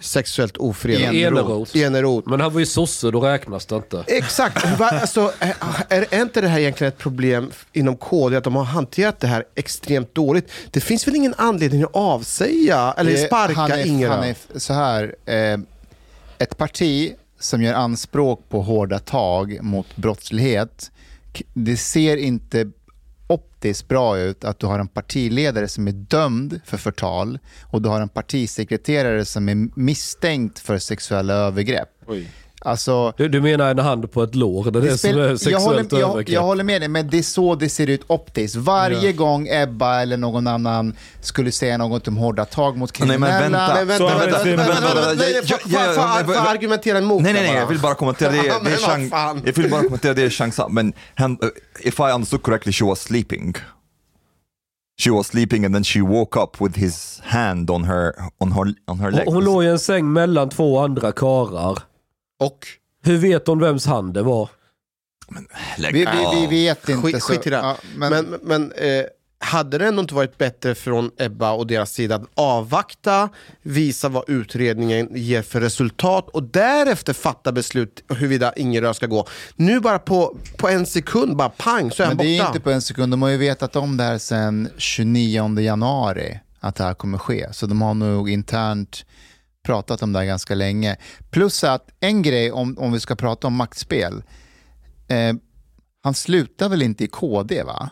Speaker 1: sexuellt ofredande?
Speaker 3: Eneroth.
Speaker 6: Eneroth.
Speaker 1: Eneroth.
Speaker 6: Men han var ju sosse, då räknas det inte.
Speaker 1: Exakt. Va, alltså, är, är är inte det här egentligen ett problem inom KD, att de har hanterat det här extremt dåligt? Det finns väl ingen anledning att avsäga eller
Speaker 3: Eh,
Speaker 1: sparka
Speaker 3: Hanif,
Speaker 1: Ingerö?
Speaker 3: Hanif, så här, eh, ett parti som gör anspråk på hårda tag mot brottslighet, k- det ser inte op- faktiskt bra ut att du har en partiledare som är dömd för förtal och du har en partisekreterare som är misstänkt för sexuella övergrepp.
Speaker 1: Oj.
Speaker 3: Alltså,
Speaker 6: Du, du menar en hand på ett lår? Det är det som
Speaker 3: spelar-
Speaker 6: är
Speaker 3: jag,
Speaker 6: sexuellt
Speaker 3: håller, jag,
Speaker 6: övergrepp.
Speaker 3: jag håller med dig, men det är så det ser ut optiskt. Varje gång Ebba eller någon annan skulle säga något om hårda tag mot
Speaker 4: Nej, men
Speaker 3: kriminella.
Speaker 4: vänta.
Speaker 1: Nej, vänta,
Speaker 2: Så har
Speaker 1: vänta,
Speaker 2: det
Speaker 1: vänta,
Speaker 2: sin-
Speaker 1: vänta,
Speaker 4: vänta,
Speaker 1: vänta,
Speaker 4: vänta,
Speaker 1: nej,
Speaker 4: jag-
Speaker 1: får-
Speaker 4: jag-
Speaker 1: får-
Speaker 4: jag-
Speaker 1: får- får argumentera emot
Speaker 4: Nej, nej,
Speaker 1: Oh, det
Speaker 4: nej,
Speaker 1: bara?
Speaker 4: jag vill bara kommentera
Speaker 1: [laughs]
Speaker 4: det.
Speaker 1: Ja,
Speaker 4: det
Speaker 1: men
Speaker 4: är
Speaker 1: vad
Speaker 4: Shang,
Speaker 1: fan.
Speaker 4: jag vill bara kommentera det Shang sa, men han, uh, if I understood correctly she was sleeping. She was sleeping and then she woke up with his hand on her, on her, on her
Speaker 6: Hon,
Speaker 4: leg.
Speaker 6: hon låg i en säng mellan två andra karar.
Speaker 1: Och?
Speaker 6: Hur vet hon vems hand det var?
Speaker 4: Lägg
Speaker 3: Vi, vi, vi
Speaker 4: av.
Speaker 3: vet inte.
Speaker 1: Skit,
Speaker 3: så-
Speaker 1: skit i det.
Speaker 3: ja, men,
Speaker 1: Men, men eh, hade det ändå inte varit bättre från Ebba och deras sida att avvakta, visa vad utredningen ger för resultat och därefter fatta beslut huruvida Ingerö ska gå. Nu bara på, på en sekund, bara pang så är han
Speaker 3: men det är
Speaker 1: borta.
Speaker 3: inte på en sekund. De har ju vetat om det här sedan 29 januari, att det här kommer ske. Så de har nog internt pratat om det här ganska länge. Plus att en grej, om, om vi ska prata om maktspel. Eh, han slutar väl inte i KD, va?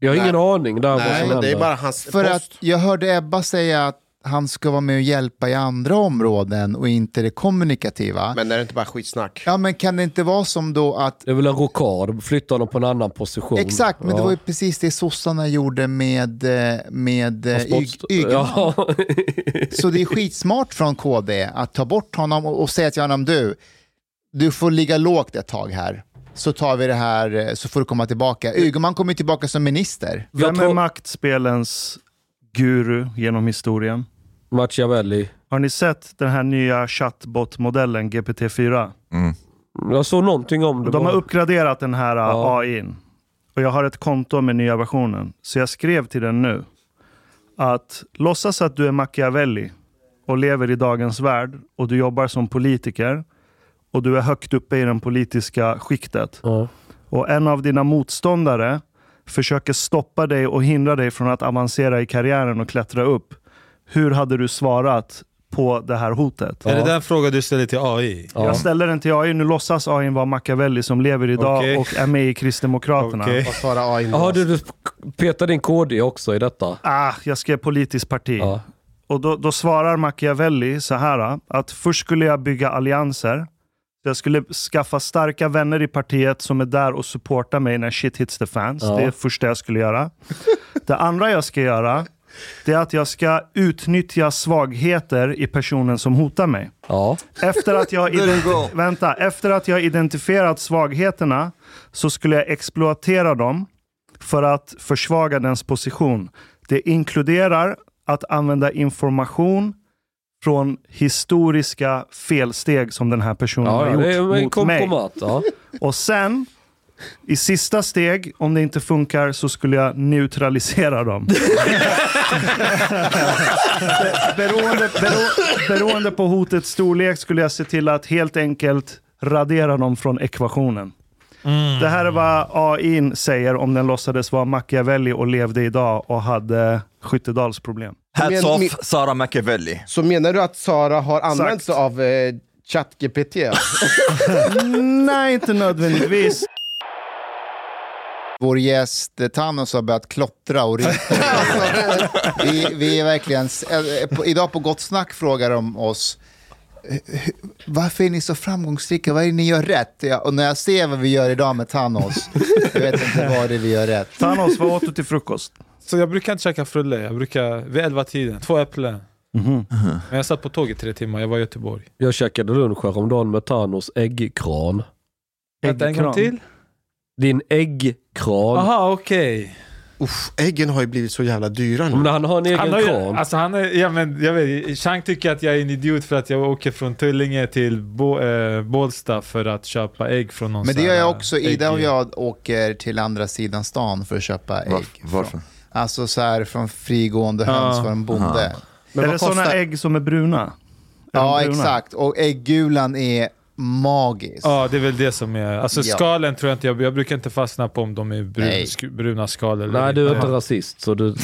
Speaker 6: Jag har ingen aning där vad
Speaker 1: Nej,
Speaker 6: som
Speaker 1: men det är
Speaker 6: händer.
Speaker 1: bara hans
Speaker 3: För
Speaker 1: post.
Speaker 3: att jag hörde Ebba säga att han ska vara med och hjälpa i andra områden och inte det kommunikativa.
Speaker 1: Men är det inte bara skitsnack?
Speaker 3: ja, men kan det inte vara som då att...
Speaker 6: Det är väl en rockad, flytta honom på en annan position.
Speaker 3: Exakt, men det
Speaker 6: Ja.
Speaker 3: var ju precis det sossarna gjorde med, eh, med eh, Yg-
Speaker 6: Spotst-
Speaker 3: Ygeman. [laughs]
Speaker 6: Ja. [laughs]
Speaker 3: Så det är skitsmart från KD att ta bort honom och, och säga till honom, du, du får ligga lågt ett tag här. Så tar vi det här, eh, så får du komma tillbaka. Ygeman kommer ju tillbaka som minister.
Speaker 6: Jag
Speaker 5: Vem är
Speaker 6: tror-
Speaker 5: maktspelens guru genom historien?
Speaker 6: Machiavelli.
Speaker 5: Har ni sett den här nya chatbot-modellen GPT-4?
Speaker 6: Jag såg någonting om det.
Speaker 5: De har
Speaker 6: bara.
Speaker 5: uppgraderat den här
Speaker 6: Ja.
Speaker 5: ja. AIn. Och jag har ett konto med nya versionen. Så jag skrev till den nu. Att låtsas att du är Machiavelli och lever i dagens värld och du jobbar som politiker och du är högt uppe i det politiska skiktet.
Speaker 6: Ja.
Speaker 5: Och en av dina motståndare försöker stoppa dig och hindra dig från att avancera i karriären och klättra upp. Hur hade du svarat på det här hotet?
Speaker 2: Är det den frågan du ställer till AI?
Speaker 5: Jag ställer den till AI. Nu låtsas AI vara Machiavelli som lever idag
Speaker 2: Okej.
Speaker 5: och är med i Kristdemokraterna.
Speaker 2: Okej.
Speaker 1: Vad svarar AI nu?
Speaker 6: Jaha, du, du petade in KD också i detta.
Speaker 5: Ah, jag skrev politiskt parti.
Speaker 6: Ja.
Speaker 5: Och då, då svarar Machiavelli så här ah, att först skulle jag bygga allianser. Jag skulle skaffa starka vänner i partiet som är där och supportar mig när shit hits the fans.
Speaker 6: Ja.
Speaker 5: Det är det första jag skulle göra. Det andra jag ska göra det är att jag ska utnyttja svagheter i personen som hotar mig.
Speaker 6: Ja.
Speaker 5: Efter att, jag
Speaker 4: There you
Speaker 5: identi-
Speaker 4: go.
Speaker 5: vänta, efter att jag identifierat svagheterna så skulle jag exploatera dem för att försvaga dens position. Det inkluderar att använda information från historiska felsteg som den här personen
Speaker 6: Ja,
Speaker 5: har
Speaker 6: det
Speaker 5: gjort
Speaker 6: är en
Speaker 5: mot mig.
Speaker 6: kompromat. Ja.
Speaker 5: Och sen, i sista steg, om det inte funkar så skulle jag neutralisera [laughs] dem. beroende, bero, beroende på hotets storlek skulle jag se till att helt enkelt radera dem från ekvationen. Det här är vad AI säger om den låtsades vara Machiavelli och levde idag och hade Skyttedalsproblem.
Speaker 4: Ah. Hats
Speaker 1: Men-
Speaker 4: off Sara Machiavelli.
Speaker 1: Så menar du att Sara har använt
Speaker 5: Exakt.
Speaker 1: sig av eh, ChatGPT?
Speaker 3: [laughs]
Speaker 5: Mm, Nej, inte nödvändigtvis.
Speaker 3: Vår gäst eh, Thanos har börjat klottra och
Speaker 5: [laughs]
Speaker 3: rita. vi, vi är verkligen... s- eh, på- Idag på Gott Snack frågar de oss eh, hu- varför är ni så framgångsrika? Vad är det ni gör rätt? Ja, och när jag ser vad vi gör idag med Thanos, jag vet inte vad det är vi gör rätt.
Speaker 5: Thanos, vad åt du till frukost?
Speaker 2: Så jag brukar inte käka frulle, jag brukar vid elva tiden två äpplen.
Speaker 3: Mhm.
Speaker 2: Men jag satt på tåget i tre timmar, jag var i Göteborg.
Speaker 6: Jag käkade lunch häromdagen med Thanos äggkran.
Speaker 2: Vänta, en gång
Speaker 5: Äggkram.
Speaker 2: till?
Speaker 6: Din äggkran.
Speaker 2: Aha, okej.
Speaker 1: Uff, äggen har ju blivit så jävla dyra nu.
Speaker 6: Mm. Men han har en egen
Speaker 2: Han har, ju-
Speaker 6: kran.
Speaker 2: alltså han är, ja, men, jag vet, Chang tycker att jag är en idiot för att jag åker från Tullinge till Bo, eh, Bålsta för att köpa ägg från någon
Speaker 3: Men det
Speaker 2: sån
Speaker 3: gör
Speaker 2: här
Speaker 3: jag också. Ida och
Speaker 2: ägg-
Speaker 3: jag åker till andra sidan stan för att köpa ägg.
Speaker 4: Varf- varför?
Speaker 3: Alltså så här från frigående höns
Speaker 2: Ja.
Speaker 3: från bonde.
Speaker 1: Ah. Men
Speaker 5: är
Speaker 1: vad
Speaker 5: det sådana
Speaker 1: kostar-
Speaker 5: ägg som är bruna? Är
Speaker 3: Ja,
Speaker 5: de bruna?
Speaker 3: exakt. Och äggulan är magisk.
Speaker 2: Ja, det är väl det som är... Alltså
Speaker 3: Ja.
Speaker 2: skalen tror jag inte... Jag, jag brukar inte fastna på om de är brun,
Speaker 3: Nej.
Speaker 2: sk, bruna skal eller
Speaker 6: Nej, du är
Speaker 2: inte.
Speaker 6: inte rasist. Så du...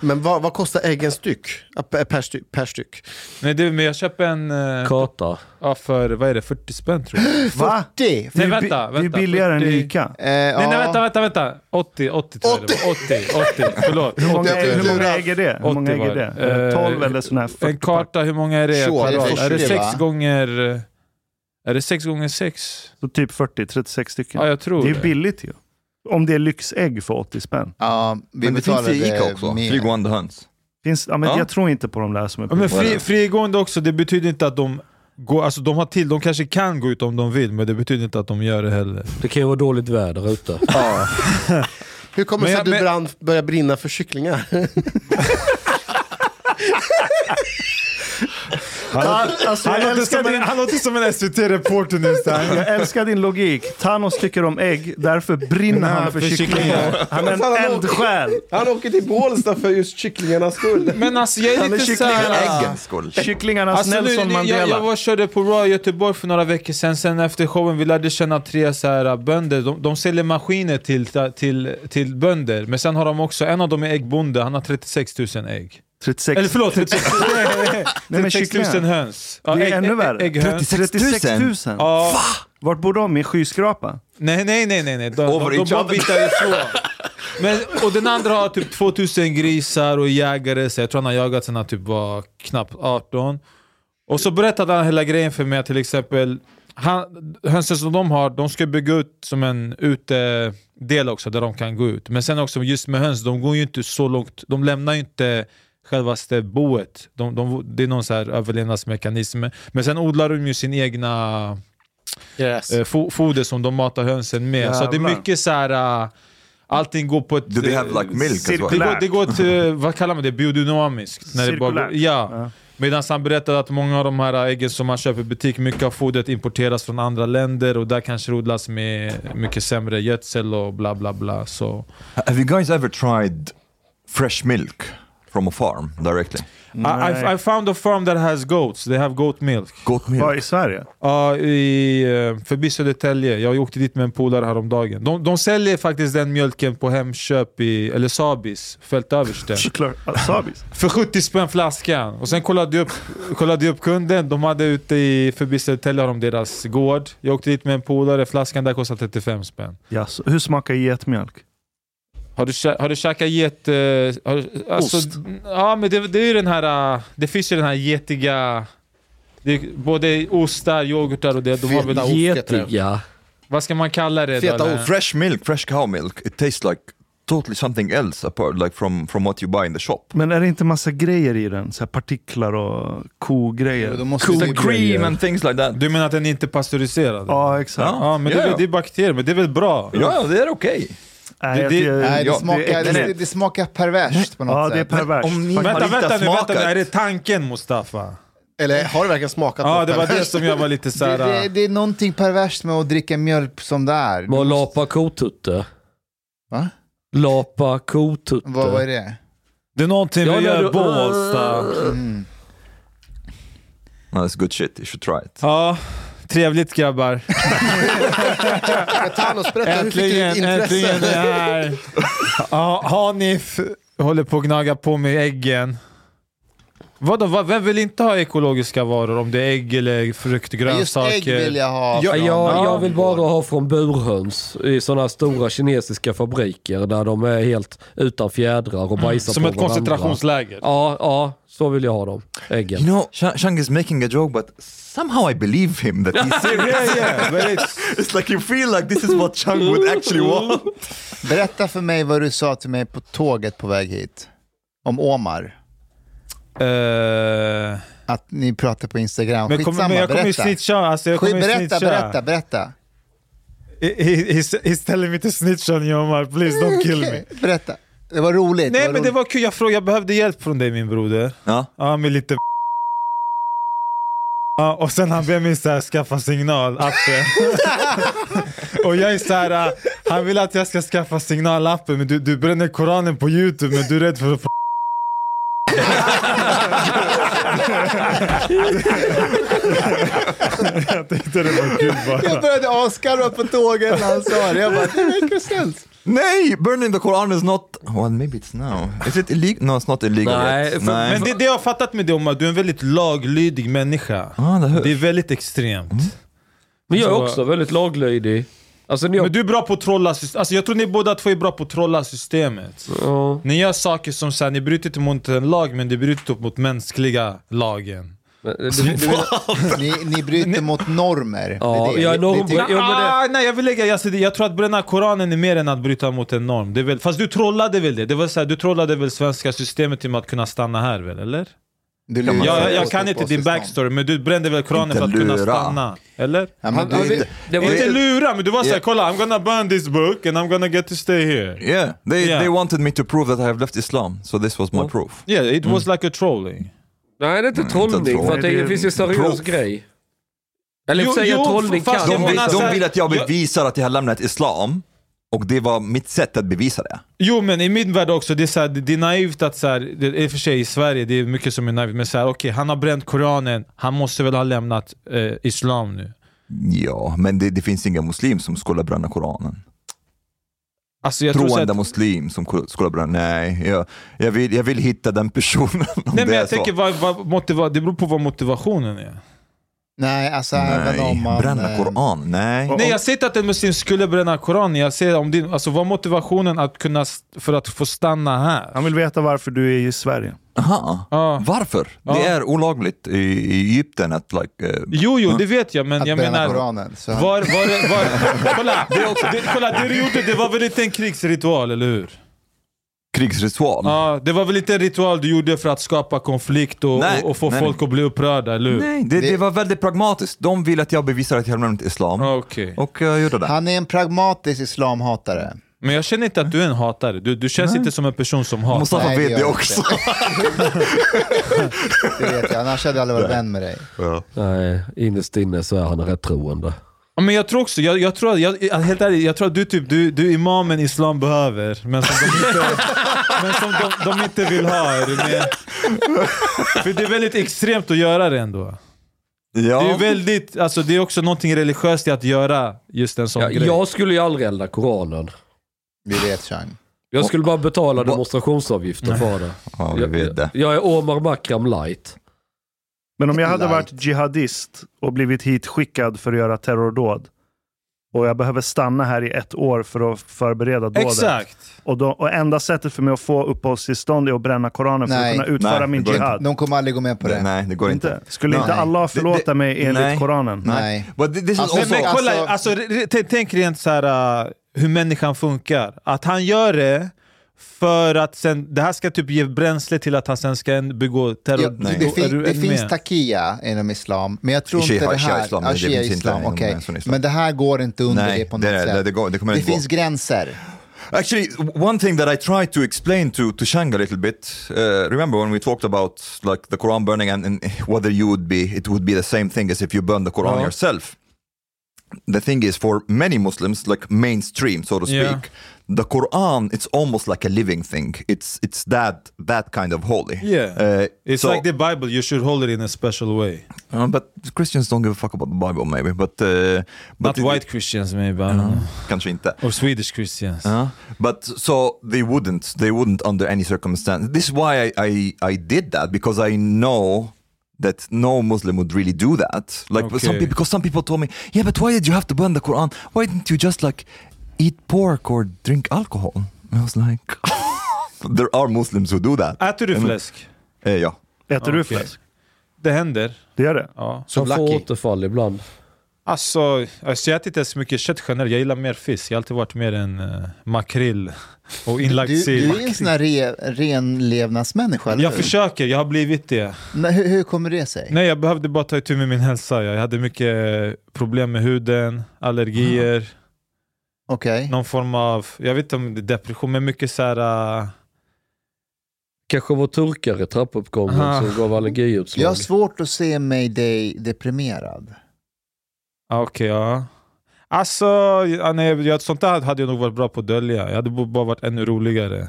Speaker 1: Men vad, vad kostar äggen styck? Ja, Per, per, styck, per styck?
Speaker 2: Nej, det, men jag köper en eh,
Speaker 6: Karta.
Speaker 2: [laughs] ja, för vad är det, 40 spänn tror
Speaker 5: [gasps]
Speaker 2: jag.
Speaker 5: Va?
Speaker 3: 40?
Speaker 5: Det är
Speaker 2: Nej,
Speaker 5: ju bi-
Speaker 2: vänta,
Speaker 5: Det är ju
Speaker 2: vänta,
Speaker 5: billigare än
Speaker 2: 40.
Speaker 5: Ica.
Speaker 3: Eh, ja.
Speaker 2: Nej, nej, vänta, vänta, vänta. 80, 80 tror jag det var. 80, 80, förlåt.
Speaker 5: Hur många,
Speaker 1: Jag tror
Speaker 5: hur
Speaker 1: det.
Speaker 5: många äger det? Hur
Speaker 2: 80
Speaker 5: många äger
Speaker 2: var
Speaker 5: det?
Speaker 2: det.
Speaker 5: Eh, 12
Speaker 2: Eh,
Speaker 5: eller sån här 40
Speaker 2: En karta, hur många är det?
Speaker 1: Tjo,
Speaker 2: per
Speaker 1: det är
Speaker 2: rad? är det
Speaker 3: 40,
Speaker 2: 6
Speaker 3: va?
Speaker 2: gånger... eh, Är det 6 gånger 6?
Speaker 5: Så typ 40, 36 stycken.
Speaker 2: Ja, jag tror
Speaker 5: det är
Speaker 2: det.
Speaker 5: ju billigt ju. Om det är lyxägg för 80 spänn.
Speaker 3: Ja, vi eh,
Speaker 4: Men det finns i
Speaker 3: betalade
Speaker 4: Ica också.
Speaker 3: mer.
Speaker 4: Flygande höns.
Speaker 5: Finns, ja, men
Speaker 4: Ja.
Speaker 5: Jag tror inte på de där som är
Speaker 2: Ja,
Speaker 5: på
Speaker 2: men
Speaker 4: Vad är
Speaker 2: fri,
Speaker 4: det?
Speaker 2: frigående också, det betyder inte att de går, alltså de har till, de kanske kan gå ut om de vill, men det betyder inte att de gör det heller.
Speaker 6: Det kan ju vara dåligt väder
Speaker 2: [laughs]
Speaker 6: ute.
Speaker 1: Hur kommer det
Speaker 2: Men
Speaker 1: sig
Speaker 2: jag-
Speaker 1: att du
Speaker 2: men-
Speaker 1: brann, började brinna för kycklingar?
Speaker 5: Han, alltså,
Speaker 2: Han
Speaker 5: jag,
Speaker 2: låter
Speaker 5: älskar
Speaker 2: som en,
Speaker 5: din,
Speaker 2: han låter som en SVT-reporter nu. så här.
Speaker 5: jag älskar din logik. Thanos tycker om ägg, därför brinner han för kycklingar. Han är en eldsjäl.
Speaker 1: Han åker till Bålsta för just kycklingarnas skull.
Speaker 2: Men alltså jag är
Speaker 5: Han är
Speaker 2: lite
Speaker 5: kyckling
Speaker 2: såhär...
Speaker 5: eller
Speaker 4: Äggens skull.
Speaker 5: Kycklingarnas
Speaker 2: Alltså, nu,
Speaker 5: Nelson
Speaker 2: nu,
Speaker 5: Mandela.
Speaker 2: jag, jag var och körde på Raw i Göteborg för några veckor sedan, sen efter showen vi lärde känna tre så här, äh, bönder. De, de säljer maskiner till, till, till bönder, men sen har de också, en av dem är äggbonde, han har 36 000 ägg.
Speaker 5: 36,
Speaker 2: Eller förlåt, [laughs] 36,
Speaker 5: [laughs] Nej, men
Speaker 2: 36 000
Speaker 5: kycklingar.
Speaker 2: höns. Ja,
Speaker 5: det är
Speaker 2: ägg-
Speaker 5: ännu
Speaker 2: ägg-
Speaker 5: värre.
Speaker 2: Ägghöns.
Speaker 5: 36 000?
Speaker 2: Ja,
Speaker 5: Vart bor de? I en skyskrapa?
Speaker 2: Nej, nej, nej, nej. nej. De,
Speaker 4: Over
Speaker 2: de, de
Speaker 4: each
Speaker 2: bara
Speaker 4: other.
Speaker 2: bitar ifrån. Men, och den andra har typ 2000 grisar och jägare, så jag tror han har jagat sen han typ var knappt 18. Och så berättade han hela grejen för mig, att till exempel han, hönsen som de har, de ska bygga ut som en utedel också, där de kan gå ut. Men sen också just med höns, de går ju inte så långt, de lämnar ju inte självaste boet. De, de, det är någon så här överlevnadsmekanism. Men sen odlar de ju sin egna
Speaker 1: Yes.
Speaker 2: eh, fo- foder som de matar hönsen med. Så det är
Speaker 5: Jävlar.
Speaker 2: mycket så här. eh, allting går på ett...
Speaker 4: Do they have
Speaker 2: eh,
Speaker 4: like milk as
Speaker 5: cirkulär.
Speaker 2: det
Speaker 4: well?
Speaker 2: går, det går till, vad kallar man det, biodynamiskt. När det bara går,
Speaker 5: Cirkulärt.
Speaker 2: ja.
Speaker 5: Ja.
Speaker 2: Medan han berättade att många av de här äggen som man köper i butik, mycket av fodret importeras från andra länder och där kanske det odlas med mycket sämre gödsel och bla bla bla. Så.
Speaker 4: Have you guys ever tried fresh milk from a farm directly?
Speaker 2: I,
Speaker 5: Mm.
Speaker 2: I, I found a farm that has goats, they have goat milk.
Speaker 4: Goat
Speaker 5: Var
Speaker 4: milk.
Speaker 5: i Sverige?
Speaker 2: Ja, i, eh, förbi Södertälje. Jag åkte dit med en polare häromdagen. De, de säljer faktiskt den mjölken på Hemköp, i, eller Sabis,
Speaker 5: [laughs]
Speaker 2: Fältöversten.
Speaker 5: Såklart. Ah, Sabis.
Speaker 2: För 70 spänn flaskan. Och sen kollade jag upp, kollade jag upp kunden. De hade ute i förbi Södertälje, har de deras gård. Jag åkte dit med en polare. Flaskan där kostade 35 spänn.
Speaker 5: Jaså, hur smakar getmjölk?
Speaker 2: Har du, kä- har du käkat get... eh, har, du- alltså,
Speaker 5: Ost.
Speaker 2: Ja, men det, det är ju den här... eh, Det finns ju den här getiga... Det är både ostar, yoghurtar och det. De har väl,
Speaker 1: Feta.
Speaker 6: Getiga.
Speaker 2: vad ska man kalla det? då,
Speaker 1: Feta
Speaker 2: eller?
Speaker 1: ost.
Speaker 4: Fresh milk, fresh cow milk. It tastes like totally something else apart like from, from what you buy in the shop.
Speaker 5: Men är det inte massa grejer i den? Så här partiklar och
Speaker 3: Då
Speaker 5: kogrejer?
Speaker 3: måste
Speaker 4: It's
Speaker 3: vi
Speaker 4: like cream
Speaker 3: börja.
Speaker 4: and things like that.
Speaker 2: Du menar att den inte är pasteuriserad?
Speaker 5: Ja, exakt.
Speaker 4: Ja.
Speaker 2: Ja, men det, är
Speaker 4: Ja,
Speaker 2: väl-
Speaker 4: ja.
Speaker 2: det är bakterier, men det är väl bra?
Speaker 4: Ja, det är okej.
Speaker 5: Nej,
Speaker 2: Det-
Speaker 5: jag
Speaker 2: det-
Speaker 5: tycker-
Speaker 3: Nej, det
Speaker 4: Ja,
Speaker 3: smakar,
Speaker 5: det är
Speaker 3: det,
Speaker 5: äckligt.
Speaker 3: det smakar perverst på något
Speaker 5: Ja, det är
Speaker 3: sätt.
Speaker 5: perverst.
Speaker 4: om ni-
Speaker 5: Faktiskt.
Speaker 2: Vänta,
Speaker 4: Har inte
Speaker 2: vänta nu,
Speaker 4: smakat.
Speaker 2: vänta nu. Är det tanken Mustafa?
Speaker 1: Eller har det verkligen smakat
Speaker 2: Ja,
Speaker 1: något
Speaker 2: det var det
Speaker 1: perverst?
Speaker 2: som jag var lite
Speaker 3: det, det,
Speaker 2: såhär...
Speaker 3: det är någonting perverst med att dricka mjölk som det är.
Speaker 6: Man lapar kotutte.
Speaker 3: Va?
Speaker 6: Lapa kotutte.
Speaker 3: Vad, vad är det?
Speaker 2: Det är någonting
Speaker 6: Ja,
Speaker 2: vi
Speaker 6: ja,
Speaker 2: gör
Speaker 6: du-
Speaker 2: i Bålsta.
Speaker 3: Mm.
Speaker 4: No, it's good shit, you should try it.
Speaker 2: Ja, trevligt grabbar.
Speaker 1: Men Thanos, berätta, hur fick du
Speaker 2: Äntligen, äntligen det
Speaker 1: intresse?
Speaker 2: här. Ja, Hanif håller på att gnaga på med äggen. Vadå, vad, vem vill inte ha ekologiska varor? Om det är ägg eller frukt,
Speaker 3: Men Just
Speaker 2: grönsaker?
Speaker 3: ägg vill jag ha.
Speaker 6: Ja,
Speaker 3: från-
Speaker 6: jag, jag vill bara ha från burhöns i sådana här stora kinesiska fabriker där de är helt utan fjädrar och bajsar
Speaker 2: Mm. Som
Speaker 6: på
Speaker 2: ett
Speaker 6: varandra.
Speaker 2: koncentrationsläger.
Speaker 6: Ja, ja, så vill jag ha dem. Äggen.
Speaker 4: You know, Shang Shang is making a joke, but somehow I believe him that
Speaker 2: [laughs]
Speaker 4: he's
Speaker 2: Yeah,
Speaker 4: serious.
Speaker 2: yeah, but it's-
Speaker 4: it's like you feel like this is what Shang would actually want. [laughs]
Speaker 3: Berätta för mig vad du sa till mig på tåget på väg hit. Om Omar.
Speaker 2: Eh,
Speaker 3: Att ni pratar på Instagram.
Speaker 2: men,
Speaker 3: Skitsamma,
Speaker 2: kommer- men jag kommer ju
Speaker 3: berätta.
Speaker 2: snitcha. Alltså, jag kommer ju
Speaker 3: berätta,
Speaker 2: snitcha.
Speaker 3: berätta, berätta.
Speaker 2: He- he- he's, he's telling me to snitch on you Omar, please don't kill me.
Speaker 3: [laughs] Okej, Berätta. Det var roligt.
Speaker 2: Nej men det
Speaker 3: roligt.
Speaker 2: var kul, jag frågade, jag behövde hjälp från dig min broder.
Speaker 4: Ja.
Speaker 2: Ja, med lite Ja, och sen han ber mig så här, skaffa signalappen. [laughs] och jag är så här, äh, han vill att jag ska skaffa signalappen men du, du bränner koranen på youtube men du är rädd för att få- Jag tänkte det var kul bara. [laughs]
Speaker 3: Jag började asgarva på tåget när han sa det. Jag bara, det make sense.
Speaker 4: Nej, burning the Quran is not... Well, maybe it's now. Is it illegal? No, it's not illegal
Speaker 6: Nej,
Speaker 4: yet.
Speaker 6: för-
Speaker 2: Men det, det jag har fattat med dig om att du är en väldigt laglydig människa.
Speaker 4: Ah, det hör-
Speaker 2: det är väldigt extremt.
Speaker 6: Men jag är
Speaker 2: Så-
Speaker 6: också väldigt laglydig. Alltså, när jag,
Speaker 2: Men du är bra på att trolla systemet. Alltså, jag tror ni båda två är bra på att trolla systemet.
Speaker 6: ja.
Speaker 2: Ni gör saker som såhär, ni bryter inte mot en lag, men ni bryter upp mot mänskliga lagen.
Speaker 6: Men du, du, du,
Speaker 3: Ni, ni bryter mot normer.
Speaker 6: Ja,
Speaker 3: Det är det.
Speaker 6: jag är
Speaker 3: Ni- ni
Speaker 6: norm-
Speaker 2: Ja,
Speaker 3: tycker-
Speaker 6: Jo, men det-
Speaker 2: ah, nej, jag vill lägga, alltså, det- jag tror att bränna koranen är mer än att bryta mot en norm. Det är väl, fast du trollade väl det? det var så här, du trollade väl svenska systemet till att kunna stanna här väl, eller?
Speaker 3: Du
Speaker 4: Ja,
Speaker 3: lurar
Speaker 2: Jag, jag,
Speaker 3: oss
Speaker 2: kan
Speaker 3: på
Speaker 2: inte din
Speaker 3: system.
Speaker 2: backstory, men du brände väl koranen
Speaker 4: Inte
Speaker 2: för att kunna
Speaker 4: lura.
Speaker 2: stanna? Eller?
Speaker 3: Ja, men du,
Speaker 6: det, det var
Speaker 2: Inte
Speaker 6: ju...
Speaker 2: lura, men du var såhär,
Speaker 4: Ja.
Speaker 2: kolla I'm gonna burn this book and I'm gonna get to stay here.
Speaker 4: Yeah, they,
Speaker 2: Yeah.
Speaker 4: they wanted me to prove that I have left Islam, so this was my proof.
Speaker 2: Yeah, it
Speaker 6: Mm.
Speaker 2: was like a trolling.
Speaker 6: Nej, det är inte trollning.
Speaker 4: troll.
Speaker 6: För att det,
Speaker 5: Nej, det är
Speaker 6: finns ju en seriös
Speaker 4: proff.
Speaker 6: grej. Eller
Speaker 2: Jo,
Speaker 6: jo, säga
Speaker 2: jo,
Speaker 6: trollning
Speaker 2: fast
Speaker 6: kan
Speaker 2: jag
Speaker 4: De
Speaker 6: vara
Speaker 4: vill,
Speaker 2: menar
Speaker 6: så-
Speaker 2: så här-
Speaker 4: de vill att jag
Speaker 2: jag-
Speaker 4: bevisar att jag har lämnat Islam, och det var mitt sätt att bevisa det.
Speaker 2: Jo men i min värld också, det är, så här, det är naivt att så här, det är i och för sig i Sverige, det är mycket som är naivt, men så här, okej han har bränt koranen, han måste väl ha lämnat eh, islam nu.
Speaker 4: Ja, men det, det finns ingen muslim som skulle bränna Koranen.
Speaker 2: Alltså jag tror så
Speaker 4: Troende
Speaker 2: att,
Speaker 4: muslim som ku- skulle bränna... Nej, jag, jag, vill, jag vill hitta den personen [laughs] om
Speaker 2: nej,
Speaker 4: det
Speaker 2: men
Speaker 4: är
Speaker 2: jag tänker,
Speaker 4: så.
Speaker 2: vad, vad motiva, det beror på vad motivationen är.
Speaker 3: nej, alltså även om
Speaker 4: Nej,
Speaker 3: man...
Speaker 4: bränna
Speaker 3: eh,
Speaker 4: Koran, nej.
Speaker 2: Nej jag säger inte att en muslim skulle bränna koranen, jag säger om din, alltså, vad är motivationen att kunna, st- för att få stanna här?
Speaker 5: Han vill veta varför du är i Sverige.
Speaker 4: Aha.
Speaker 2: Ja.
Speaker 4: Varför?
Speaker 2: Ja.
Speaker 4: Det är olagligt i, i Egypten att like... eh,
Speaker 2: Jo, jo, det vet jag, men
Speaker 3: Att
Speaker 2: jag
Speaker 3: bränna
Speaker 2: menar...
Speaker 3: Koranen. Så
Speaker 2: Var, var,
Speaker 3: [laughs]
Speaker 2: var, kolla, det, det, kolla, det du gjorde, det var väl inte en krigsritual, eller hur?
Speaker 4: krigsritual.
Speaker 2: Ja, det var väl inte en ritual du gjorde för att skapa konflikt och,
Speaker 4: Nej,
Speaker 2: och, och få
Speaker 4: nej,
Speaker 2: folk att bli upprörda, eller hur?
Speaker 4: Nej, det, det var väldigt pragmatiskt. De vill att jag bevisar att jag har lämnat islam.
Speaker 2: Ja, Okej.
Speaker 4: Och jag gjorde det.
Speaker 3: Han är en pragmatisk islamhatare.
Speaker 2: Men jag känner inte att du är en hatare. Du, du känns inte som en person som hatar.
Speaker 4: Mustafa
Speaker 3: Nej, det
Speaker 4: vet
Speaker 3: gör
Speaker 4: det
Speaker 3: jag
Speaker 4: också.
Speaker 3: Det vet jag, annars hade jag aldrig varit vän med dig.
Speaker 6: Nej, innerst inne så är han rätt troende.
Speaker 2: Ja, Men jag tror också, jag, jag tror, att- jag, jag- helt ärligt, jag tror att du, typ, du, du är imamen islam behöver, men som de inte,
Speaker 4: [laughs]
Speaker 2: men som de, de inte vill ha. är du med? För det är väldigt extremt att göra det ändå.
Speaker 4: [laughs] Ja.
Speaker 2: Det är ju väldigt, alltså det är också någonting religiöst i att göra just en sån
Speaker 6: Ja,
Speaker 2: grej.
Speaker 6: jag skulle ju aldrig elda Koranen.
Speaker 3: Vi vet Chang.
Speaker 6: Jag skulle bara betala
Speaker 4: Va-
Speaker 6: demonstrationsavgifter för det.
Speaker 4: ja, vi
Speaker 6: Jag,
Speaker 4: vet det.
Speaker 6: jag, jag är Omar Makram light.
Speaker 5: Men om jag hade
Speaker 3: Light.
Speaker 5: varit jihadist och blivit hitskickad för att göra terrordåd och jag behöver stanna här i ett år för att förbereda dådet.
Speaker 2: Exakt.
Speaker 5: Och, då, och enda sättet för mig att få uppehållstillstånd är att bränna Koranen för
Speaker 3: Nej.
Speaker 5: att kunna utföra
Speaker 4: Nej,
Speaker 5: min
Speaker 4: det går
Speaker 5: jihad.
Speaker 3: De kommer aldrig gå med på det.
Speaker 4: Nej, det går inte.
Speaker 5: Inte. Skulle
Speaker 4: Nej.
Speaker 5: inte Allah förlåta
Speaker 4: Det- det-
Speaker 5: mig enligt
Speaker 4: nej.
Speaker 5: Koranen?
Speaker 3: Nej.
Speaker 4: But this is
Speaker 3: Alltså-
Speaker 4: also,
Speaker 2: Men kolla,
Speaker 3: alltså-
Speaker 2: alltså, re- re- t- tänk rent så här, uh, hur människan funkar. Att han gör det för att sen, det här ska typ ge bränsle till att han sen ska en- begå terror.
Speaker 3: Ja,
Speaker 4: Nej.
Speaker 3: det,
Speaker 2: Är
Speaker 3: fin,
Speaker 2: du
Speaker 3: det
Speaker 2: en
Speaker 3: finns
Speaker 2: med?
Speaker 3: takia inom islam, men jag tror
Speaker 4: Shia-
Speaker 3: inte det
Speaker 4: Shia
Speaker 3: här...
Speaker 4: islam,
Speaker 3: ja,
Speaker 4: nej, det
Speaker 3: Shia
Speaker 4: finns inte
Speaker 3: islam,
Speaker 4: inom
Speaker 3: okej.
Speaker 4: en sån islam.
Speaker 3: Men det här går inte under
Speaker 4: Nej,
Speaker 3: det på något
Speaker 4: det-
Speaker 3: sätt.
Speaker 4: det- det går- det kommer inte gå.
Speaker 3: finns gränser.
Speaker 4: Actually, one thing that I tried to explain to, to Shang a little bit, uh, remember when we talked about like the Quran burning and, and whether you would be, it would be the same thing as if you burn the Quran
Speaker 2: Ja.
Speaker 4: yourself. The thing is, for many Muslims, like mainstream, so to speak,
Speaker 2: Yeah.
Speaker 4: the Quran, it's almost like a living thing. It's it's that that kind of holy.
Speaker 2: Yeah.
Speaker 4: Uh,
Speaker 2: It's
Speaker 4: so-
Speaker 2: like the Bible, you should hold it in a special way.
Speaker 4: Uh, but Christians don't give a fuck about the Bible maybe, but... Uh, but
Speaker 2: Not white Christians maybe, I don't know.
Speaker 4: Kanske inte.
Speaker 2: Or Swedish Christians.
Speaker 4: Uh, but so they wouldn't. They wouldn't under any circumstance. This is why I, I, I did that because I know that no Muslim would really do that. Like but some
Speaker 2: Okay.
Speaker 4: people, because some people told me, yeah, but why did you have to burn the Quran? Why didn't you just like eat pork or drink alcohol? And I was like, [laughs] there are Muslims who do that.
Speaker 2: Äter du
Speaker 4: Mm.
Speaker 2: fläsk?
Speaker 4: Eh, ja.
Speaker 5: Äter du
Speaker 2: Okej.
Speaker 5: fläsk?
Speaker 2: Det händer.
Speaker 5: Det gör det?
Speaker 2: Ja.
Speaker 3: Så
Speaker 6: han får
Speaker 3: lucky.
Speaker 6: återfall ibland.
Speaker 2: Alltså, alltså, jag äter inte så mycket kött generellt. Jag gillar mer fisk. Jag har alltid varit mer en uh, makrill och
Speaker 3: Du,
Speaker 2: inlagd sill.
Speaker 3: du är en sån här re, renlevnadsmänniska, eller
Speaker 2: Jag
Speaker 3: hur?
Speaker 2: försöker, jag har blivit det.
Speaker 3: Nej, hur, hur kommer det sig?
Speaker 2: Nej, jag behövde bara ta itu med min hälsa. Jag hade mycket eh, problem med huden, allergier,
Speaker 3: Okej.
Speaker 2: någon form av, jag vet inte om det är depression, men mycket så här. eh,
Speaker 6: Kanske var turkar i trappuppgången
Speaker 2: Aha.
Speaker 6: som gav allergiutslag.
Speaker 3: Jag har svårt att se mig dig deprimerad.
Speaker 2: ja, ah, okej, ja. Alltså, ja, nej, jag, sånt där hade jag nog varit bra på att dölja. Jag hade bo- bara varit ännu roligare.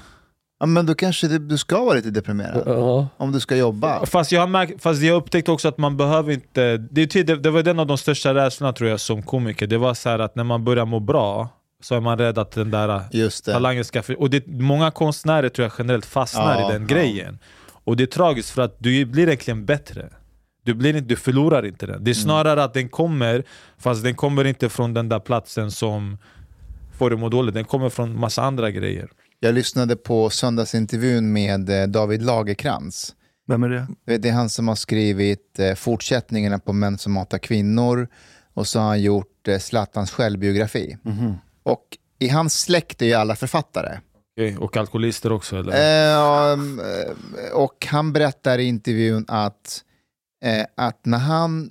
Speaker 3: Ja, men då kanske du, du ska vara lite deprimerad.
Speaker 6: Ja.
Speaker 3: Om du ska jobba.
Speaker 2: Fast jag, har märkt, fast jag upptäckte också att man behöver inte... Det, är tydligt- det var den av de största rädslorna tror jag som komiker. Det var så här att när man börjar må bra, så är man rädd att den där
Speaker 3: Just det.
Speaker 2: talangen ska... För, och det, många konstnärer tror jag generellt fastnar
Speaker 3: Ja,
Speaker 2: i den
Speaker 3: ja.
Speaker 2: grejen. Och det är tragiskt för att du blir egentligen bättre. Du, blir, inte- du förlorar inte den.
Speaker 3: Mm.
Speaker 2: Det är snarare att den kommer, fast den kommer inte från den där platsen som får dig att må dåligt. Den kommer från massa andra grejer.
Speaker 3: Jag lyssnade på söndagsintervjun med eh, David Lagerkrans.
Speaker 5: Vem är det?
Speaker 3: Du vet, Det är han som har skrivit eh, fortsättningarna på Män som hatar kvinnor och så har han gjort eh, Zlatans självbiografi.
Speaker 6: Mhm.
Speaker 3: Och i hans släkt är ju alla författare.
Speaker 2: Och alkoholister också eller?
Speaker 3: Eh, um, eh, och han berättar i intervjun att, eh, att när, han,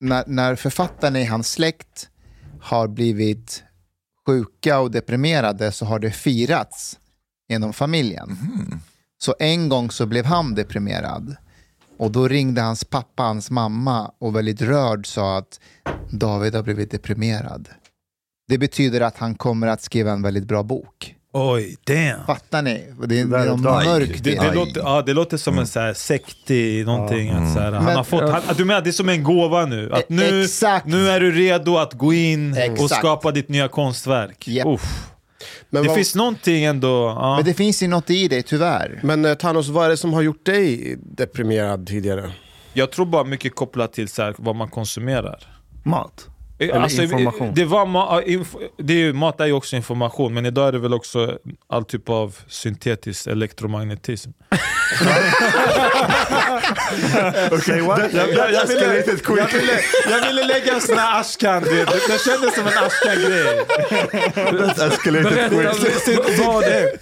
Speaker 3: när, när författarna i hans släkt har blivit sjuka och deprimerade så har det firats inom familjen. Så en gång så blev han deprimerad. Och då ringde hans pappa, hans mamma och väldigt rörd sa att David har blivit deprimerad. Det betyder att han kommer att skriva en väldigt bra bok.
Speaker 2: Oj, damn!
Speaker 3: Fattar ni? Det är,
Speaker 5: Det
Speaker 3: det
Speaker 5: där är
Speaker 3: är någon
Speaker 5: dark.
Speaker 3: mörk
Speaker 2: Det,
Speaker 3: del.
Speaker 2: det,
Speaker 4: Aj.
Speaker 2: låter, ja, det låter som en så här sektig någonting. Att så här, han
Speaker 3: Mm. Men-
Speaker 2: har fått, han, att du menar att det är som en gåva nu? Att
Speaker 3: E-
Speaker 2: nu,
Speaker 3: exakt.
Speaker 2: nu är du redo att gå in och
Speaker 3: Exakt.
Speaker 2: skapa ditt nya konstverk.
Speaker 3: Japp.
Speaker 2: Uff.
Speaker 1: Men,
Speaker 2: Det
Speaker 1: vad,
Speaker 2: finns någonting ändå. Ja.
Speaker 3: Men det finns ju något i det, tyvärr.
Speaker 1: men eh, Thanos, vad är det som har gjort dig deprimerad tidigare?
Speaker 2: Jag tror bara mycket kopplat till så här, vad man konsumerar.
Speaker 5: Mat?
Speaker 2: Eh,
Speaker 5: Eller information.
Speaker 2: Det var ma- ja, inf- det är ju, mat är ju också information, men idag är det väl också all typ av syntetisk elektromagnetism.
Speaker 5: Say what?
Speaker 2: Jag, jag, ville, jag, ville, jag ville lägga en sån här Ashkan, det, det, det kändes som en Ashkan-grej.
Speaker 6: Berätta vad-
Speaker 2: [laughs]
Speaker 6: vad det...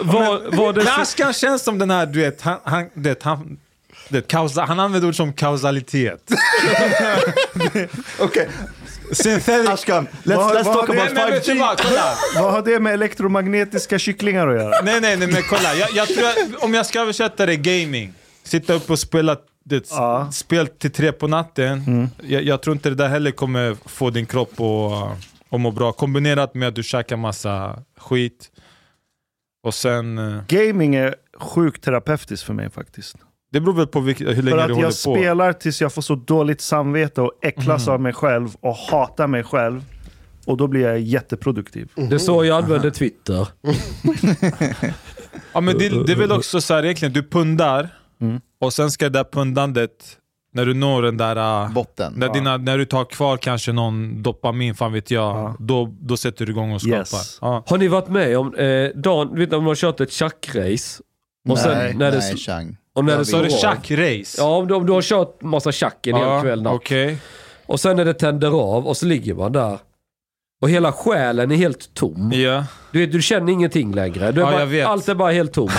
Speaker 6: Vad, vad det
Speaker 2: Men Ashkan känns som den här, du vet, han, han, du vet, han, du vet, kausa, han använder ord som kausalitet.
Speaker 3: Okej,
Speaker 2: Synthetic...
Speaker 3: Ashkan.
Speaker 5: Vad-
Speaker 4: Let's, let's
Speaker 5: vad
Speaker 4: talk
Speaker 5: har
Speaker 4: about
Speaker 5: det-
Speaker 2: Nej, men vet du
Speaker 4: 5G.
Speaker 2: vad? Kolla!
Speaker 5: Vad har det med elektromagnetiska kycklingar att göra?
Speaker 2: Nej, nej, nej, men kolla. Jag, jag tror att, om jag ska översätta det, gaming. Sitta upp och spela det,
Speaker 5: Ja. Mm.
Speaker 2: spel till tre på natten. Jag, jag tror inte det där heller kommer få din kropp att, att må bra. Kombinerat med att du käkar massa skit. Och sen... eh,
Speaker 5: Gaming är sjukt terapeutiskt för mig faktiskt.
Speaker 2: Det beror väl på vilk, hur länge
Speaker 5: För
Speaker 2: du
Speaker 5: att
Speaker 2: håller
Speaker 5: jag
Speaker 2: på.
Speaker 5: spelar tills jag får så dåligt samvete och äcklas av mig själv och hatar mig själv. Och då blir jag jätteproduktiv.
Speaker 6: Det är så jag använder Twitter.
Speaker 2: Ja, men det, det är väl också så här egentligen, du pundar
Speaker 5: Mm.
Speaker 2: och sen ska det där pundandet, när du når den där... äh,
Speaker 3: Botten.
Speaker 2: När, dina, när du tar kvar kanske någon dopamin, fan vet jag, då, då sätter du igång och skapar.
Speaker 5: Yes.
Speaker 2: Ja.
Speaker 6: Har ni varit med om eh, dagen, du vet när man har kört ett tjackrace? Och sen
Speaker 3: nej,
Speaker 6: när det,
Speaker 3: nej,
Speaker 6: sl-
Speaker 3: Chang.
Speaker 6: och när det
Speaker 2: Så är det
Speaker 6: slår av.
Speaker 2: tjackrace?
Speaker 6: Ja, om du, om du har kört massa tjack en hel kväll natt.
Speaker 2: Okej.
Speaker 6: Och sen när det tänder av och så ligger man där. Och hela själen är helt tom.
Speaker 2: Ja.
Speaker 6: Du, vet, du känner ingenting längre. Du är
Speaker 2: Ja, jag
Speaker 6: bara,
Speaker 2: vet.
Speaker 6: allt är bara
Speaker 2: [laughs]
Speaker 6: helt tomt.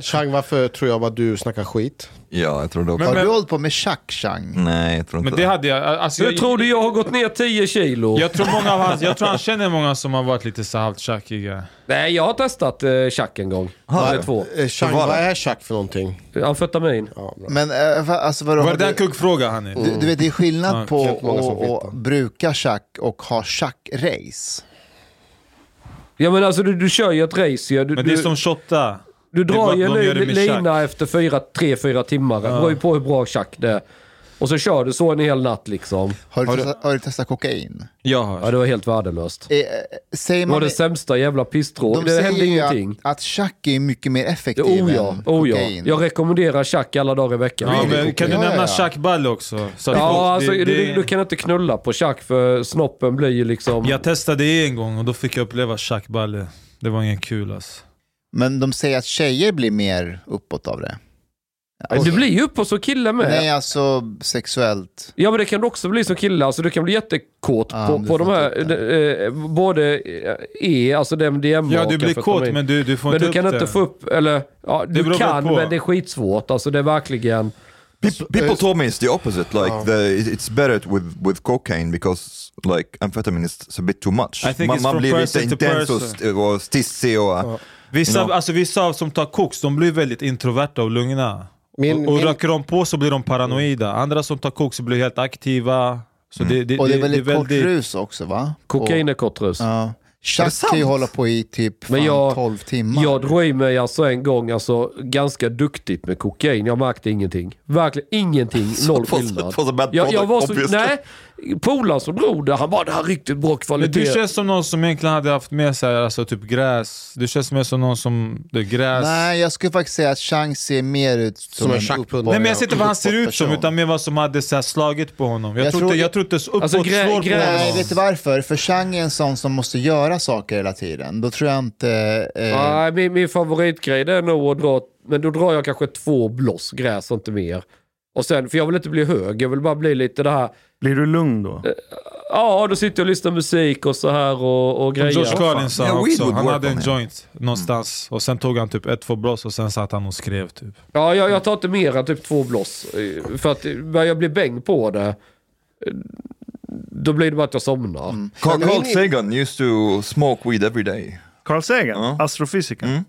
Speaker 1: Chang, varför tror jag att du snackar skit?
Speaker 4: Ja, jag tror det också.
Speaker 3: Har
Speaker 2: men-
Speaker 3: du hållit på med tjack, Chang?
Speaker 4: Nej, jag tror inte
Speaker 2: Men det
Speaker 4: det.
Speaker 2: hade jag. Alltså,
Speaker 6: Du
Speaker 2: jag,
Speaker 6: tror du jag har gått ner 10 kilo?
Speaker 2: jag, tror många av hans, jag tror han känner många som har varit lite så halvt tjackiga.
Speaker 6: Nej, jag har testat eh, tjack en gång.
Speaker 4: Har
Speaker 6: Eller
Speaker 4: du?
Speaker 6: två.
Speaker 1: Eh, Chang,
Speaker 4: Vad var
Speaker 1: vad
Speaker 4: det?
Speaker 1: är tjack för någonting?
Speaker 6: Amfetamin.
Speaker 3: Men eh, va- alltså vadå?
Speaker 2: Var
Speaker 3: har
Speaker 2: det en
Speaker 3: du,
Speaker 2: kuggfråga Hanif?
Speaker 6: Mm.
Speaker 3: du, du vet, det är skillnad på
Speaker 1: det är många som
Speaker 3: att
Speaker 1: vet
Speaker 3: att bruka tjack och ha tjackrace.
Speaker 6: Ja men alltså du, du kör ju ett race ju. Du,
Speaker 2: Men det är
Speaker 6: du-
Speaker 2: som shotta.
Speaker 6: Du
Speaker 2: Det är
Speaker 6: drar
Speaker 2: bara
Speaker 6: ju
Speaker 2: att
Speaker 6: en
Speaker 2: de gör det
Speaker 6: li-
Speaker 2: med
Speaker 6: lina
Speaker 2: tjack.
Speaker 6: efter 3-4 timmar. Det beror ju på hur bra tjack det är. Och så kör du så en hel natt liksom.
Speaker 3: Har du, testat, har du testat kokain?
Speaker 2: Jag
Speaker 6: Ja,
Speaker 2: har.
Speaker 6: det var helt värdelöst.
Speaker 3: Eh, eh, säger
Speaker 6: Det var
Speaker 3: man,
Speaker 6: det sämsta jävla pissdrog.
Speaker 3: de
Speaker 6: Det hände
Speaker 3: säger ju
Speaker 6: ingenting.
Speaker 3: att, att tjack är mycket mer
Speaker 6: Det,
Speaker 3: effektiv
Speaker 6: oh ja,
Speaker 3: än
Speaker 6: oh ja.
Speaker 3: kokain.
Speaker 6: Jag rekommenderar tjack alla dagar i veckan.
Speaker 2: Ja, men kan du
Speaker 3: Ja, ja,
Speaker 2: nämna
Speaker 3: ja.
Speaker 2: Chuck Ball också? Så att folk-
Speaker 6: Ja, alltså,
Speaker 2: det-
Speaker 6: du,
Speaker 2: det-
Speaker 6: du kan inte knulla på tjack för snoppen blir ju liksom...
Speaker 2: Jag testade en gång och då fick jag uppleva Chuck Balle. Det var ingen kul alltså.
Speaker 3: Men de säger att tjejer blir mer uppåt av det.
Speaker 6: Du blir ju uppe så kille med.
Speaker 3: Nej, alltså sexuellt.
Speaker 6: Ja men det kan du också bli som kille, alltså du kan bli jättekåt
Speaker 3: Ja,
Speaker 6: på,
Speaker 3: du
Speaker 6: på de
Speaker 3: får
Speaker 6: här,
Speaker 3: inte
Speaker 6: eh, både eh, E, alltså det MDMA
Speaker 2: Ja,
Speaker 6: och
Speaker 2: du blir
Speaker 6: amfetamin.
Speaker 2: kåt men du, du får
Speaker 6: Men
Speaker 2: inte
Speaker 6: du kan
Speaker 2: upp
Speaker 6: inte
Speaker 2: det.
Speaker 6: få upp, eller ja,
Speaker 2: Det
Speaker 6: du
Speaker 2: beror
Speaker 6: kan
Speaker 2: på.
Speaker 6: men det är skitsvårt. Alltså det är verkligen...
Speaker 4: Peop- People told me it's Oh. the opposite. Like the, it- it's better with, with cocaine because like amphetamine is it's a bit too much.
Speaker 2: I think
Speaker 4: man
Speaker 2: it's
Speaker 4: man
Speaker 2: from
Speaker 4: blir lite
Speaker 2: person to
Speaker 4: intens och,
Speaker 2: person.
Speaker 4: st- och stissig och...
Speaker 2: Vissa,
Speaker 4: No.
Speaker 2: alltså, vissa som tar koks, de blir väldigt introverta och lugna.
Speaker 1: Min-
Speaker 2: och och
Speaker 1: min-
Speaker 2: röker de på så blir de paranoida. Andra som tar koks blir helt aktiva. Så
Speaker 6: Mm.
Speaker 2: det, det,
Speaker 3: Och det är
Speaker 2: det- det
Speaker 3: väldigt kort rus också va?
Speaker 6: Kokain är kort rus.
Speaker 3: Och- Ja. Tjack kan ju hålla på i typ
Speaker 6: Men
Speaker 3: fan,
Speaker 6: jag-
Speaker 3: 12 timmar.
Speaker 6: Jag drog i mig alltså en gång alltså, ganska duktigt med kokain. Jag märkte ingenting. Verkligen ingenting. Noll
Speaker 2: [laughs]
Speaker 4: it was-
Speaker 6: skillnad.
Speaker 4: it was a bad
Speaker 6: jag, jag
Speaker 4: product,
Speaker 6: var så,
Speaker 4: obviously.
Speaker 6: nej, polaren som drog det, han bara “det här är riktigt bra
Speaker 2: Men
Speaker 6: kvalitet”.
Speaker 2: du känns som någon som egentligen hade haft med sig alltså, typ gräs. Du känns mer som någon som... Det är gräs.
Speaker 3: Nej, jag skulle faktiskt säga att Chang ser mer ut som,
Speaker 1: Som en
Speaker 3: en
Speaker 1: schackpundare.
Speaker 3: uppborgad-
Speaker 2: Nej men jag ser inte vad han ser ut som,
Speaker 3: person.
Speaker 2: utan mer vad som hade så här, slagit på honom. Jag,
Speaker 3: Jag
Speaker 2: tror,
Speaker 3: tror-
Speaker 2: inte, jag tror inte så uppåt
Speaker 6: Alltså, grä-
Speaker 2: slår
Speaker 6: grä-
Speaker 2: på honom.
Speaker 3: Nej, vet du varför? För Chang är en sån som måste göra saker hela tiden. Då tror jag inte... Eh,
Speaker 6: Nej, min, min favoritgrej det är nog att dra, men då drar jag kanske två blås gräs och inte mer. Och sen, för jag vill inte bli hög, jag vill bara bli lite det här,
Speaker 5: Blir du lugn då?
Speaker 6: ja då sitter jag och lyssnar musik och så här och, och grejer.
Speaker 2: George Carlin sa
Speaker 4: Yeah, weed
Speaker 2: också,
Speaker 4: would
Speaker 2: han
Speaker 4: work
Speaker 2: hade
Speaker 4: on
Speaker 2: en
Speaker 4: him.
Speaker 2: joint någonstans och sen tog han typ ett, två blås och sen satt han och skrev typ.
Speaker 6: Ja, jag, jag tar inte mer än typ två blås. eh, För att börjar jag bli bäng på det, eh, då blir det bara att jag somnar.
Speaker 1: Mm.
Speaker 4: Carl,
Speaker 1: Men
Speaker 4: Carl
Speaker 1: min-
Speaker 4: Sagan used to smoke weed every day.
Speaker 5: Carl Sagan,
Speaker 4: Ja.
Speaker 5: astrofysiker.
Speaker 4: Mm.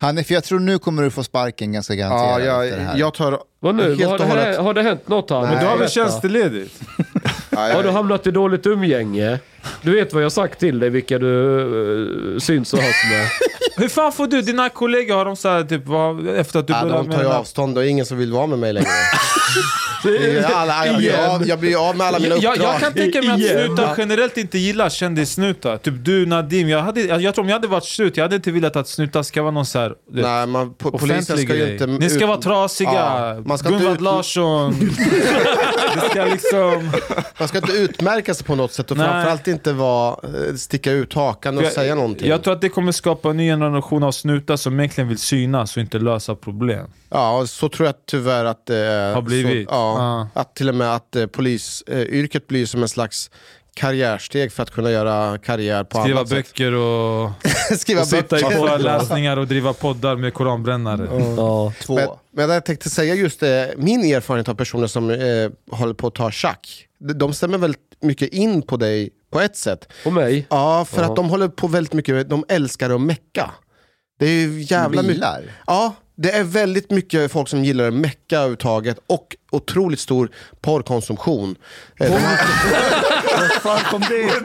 Speaker 3: han är, för jag tror nu kommer du få sparken ganska
Speaker 1: Ja,
Speaker 3: garanterat efter det här.
Speaker 1: jag, jag tar...
Speaker 6: Vad nu?
Speaker 1: Helt
Speaker 6: Har det,
Speaker 1: och
Speaker 6: här,
Speaker 1: hållet.
Speaker 6: har det hänt något här?
Speaker 2: Men du har väl
Speaker 6: Berätta.
Speaker 2: tjänsteledigt?
Speaker 1: [laughs] Nej,
Speaker 6: Har du
Speaker 1: jag-
Speaker 6: hamnat i dåligt umgänge? Du vet vad jag sagt till dig, vilka du eh, syns och hörs
Speaker 2: [laughs]
Speaker 6: med.
Speaker 2: Hur fan får du, dina kollegor, har de så här, typ, vad, efter att du
Speaker 1: Ja,
Speaker 2: började
Speaker 1: de
Speaker 2: med
Speaker 1: tar ju
Speaker 2: den här-
Speaker 1: avstånd och det är ingen som vill vara med mig längre. Det
Speaker 2: [laughs]
Speaker 1: är alla, jag, blir av, jag blir av med alla mina
Speaker 2: jag,
Speaker 1: uppdrag.
Speaker 2: jag, jag kan tänka mig att
Speaker 5: Igen.
Speaker 2: snutar generellt inte gillar kändissnutar. Typ du Nadim, jag, hade, jag, jag tror om jag hade varit snut, jag hade inte velat att snutar ska vara någon så här... du vet,
Speaker 1: Nej, man, po polisen
Speaker 2: offentlig
Speaker 1: ska ju
Speaker 2: grej.
Speaker 1: inte...
Speaker 2: Ni ska
Speaker 1: ut-
Speaker 2: vara trasiga,
Speaker 1: Ja, man ska inte
Speaker 2: Gunvald
Speaker 1: ut- [laughs]
Speaker 2: Larsson. det ska liksom...
Speaker 1: Man ska inte utmärka sig på något sätt och
Speaker 2: Nej.
Speaker 1: framförallt inte vara, eh, sticka ut hakan och säga någonting.
Speaker 2: jag tror att det kommer skapa en ny generation av snutar som egentligen vill synas och inte lösa problem.
Speaker 1: Ja, och så tror jag tyvärr att det är.
Speaker 2: Har blivit.
Speaker 1: Så, ja, Att till och med att eh, polisyrket blir som en slags karriärsteg för att kunna göra karriär på
Speaker 2: Skriva
Speaker 1: annat sätt.
Speaker 2: böcker och,
Speaker 1: [laughs] Skriva
Speaker 2: och sitta i
Speaker 1: böcker.
Speaker 2: föreläsningar och driva poddar med koranbrännare.
Speaker 6: Ja.
Speaker 1: Två. Men, men jag tänkte säga just det, min erfarenhet av personer som eh, håller på att ta schack, de- de stämmer väldigt mycket in på dig på ett sätt.
Speaker 6: Och mig.
Speaker 1: Ja, för att de håller på väldigt mycket, de älskar att mecka. Det är ju jävla mycket.
Speaker 3: Bilar.
Speaker 1: Ja, det är väldigt mycket folk som gillar mecka överhuvudtaget och otroligt stor porrkonsumtion. Eh, de-
Speaker 5: Fan kom det ifrån?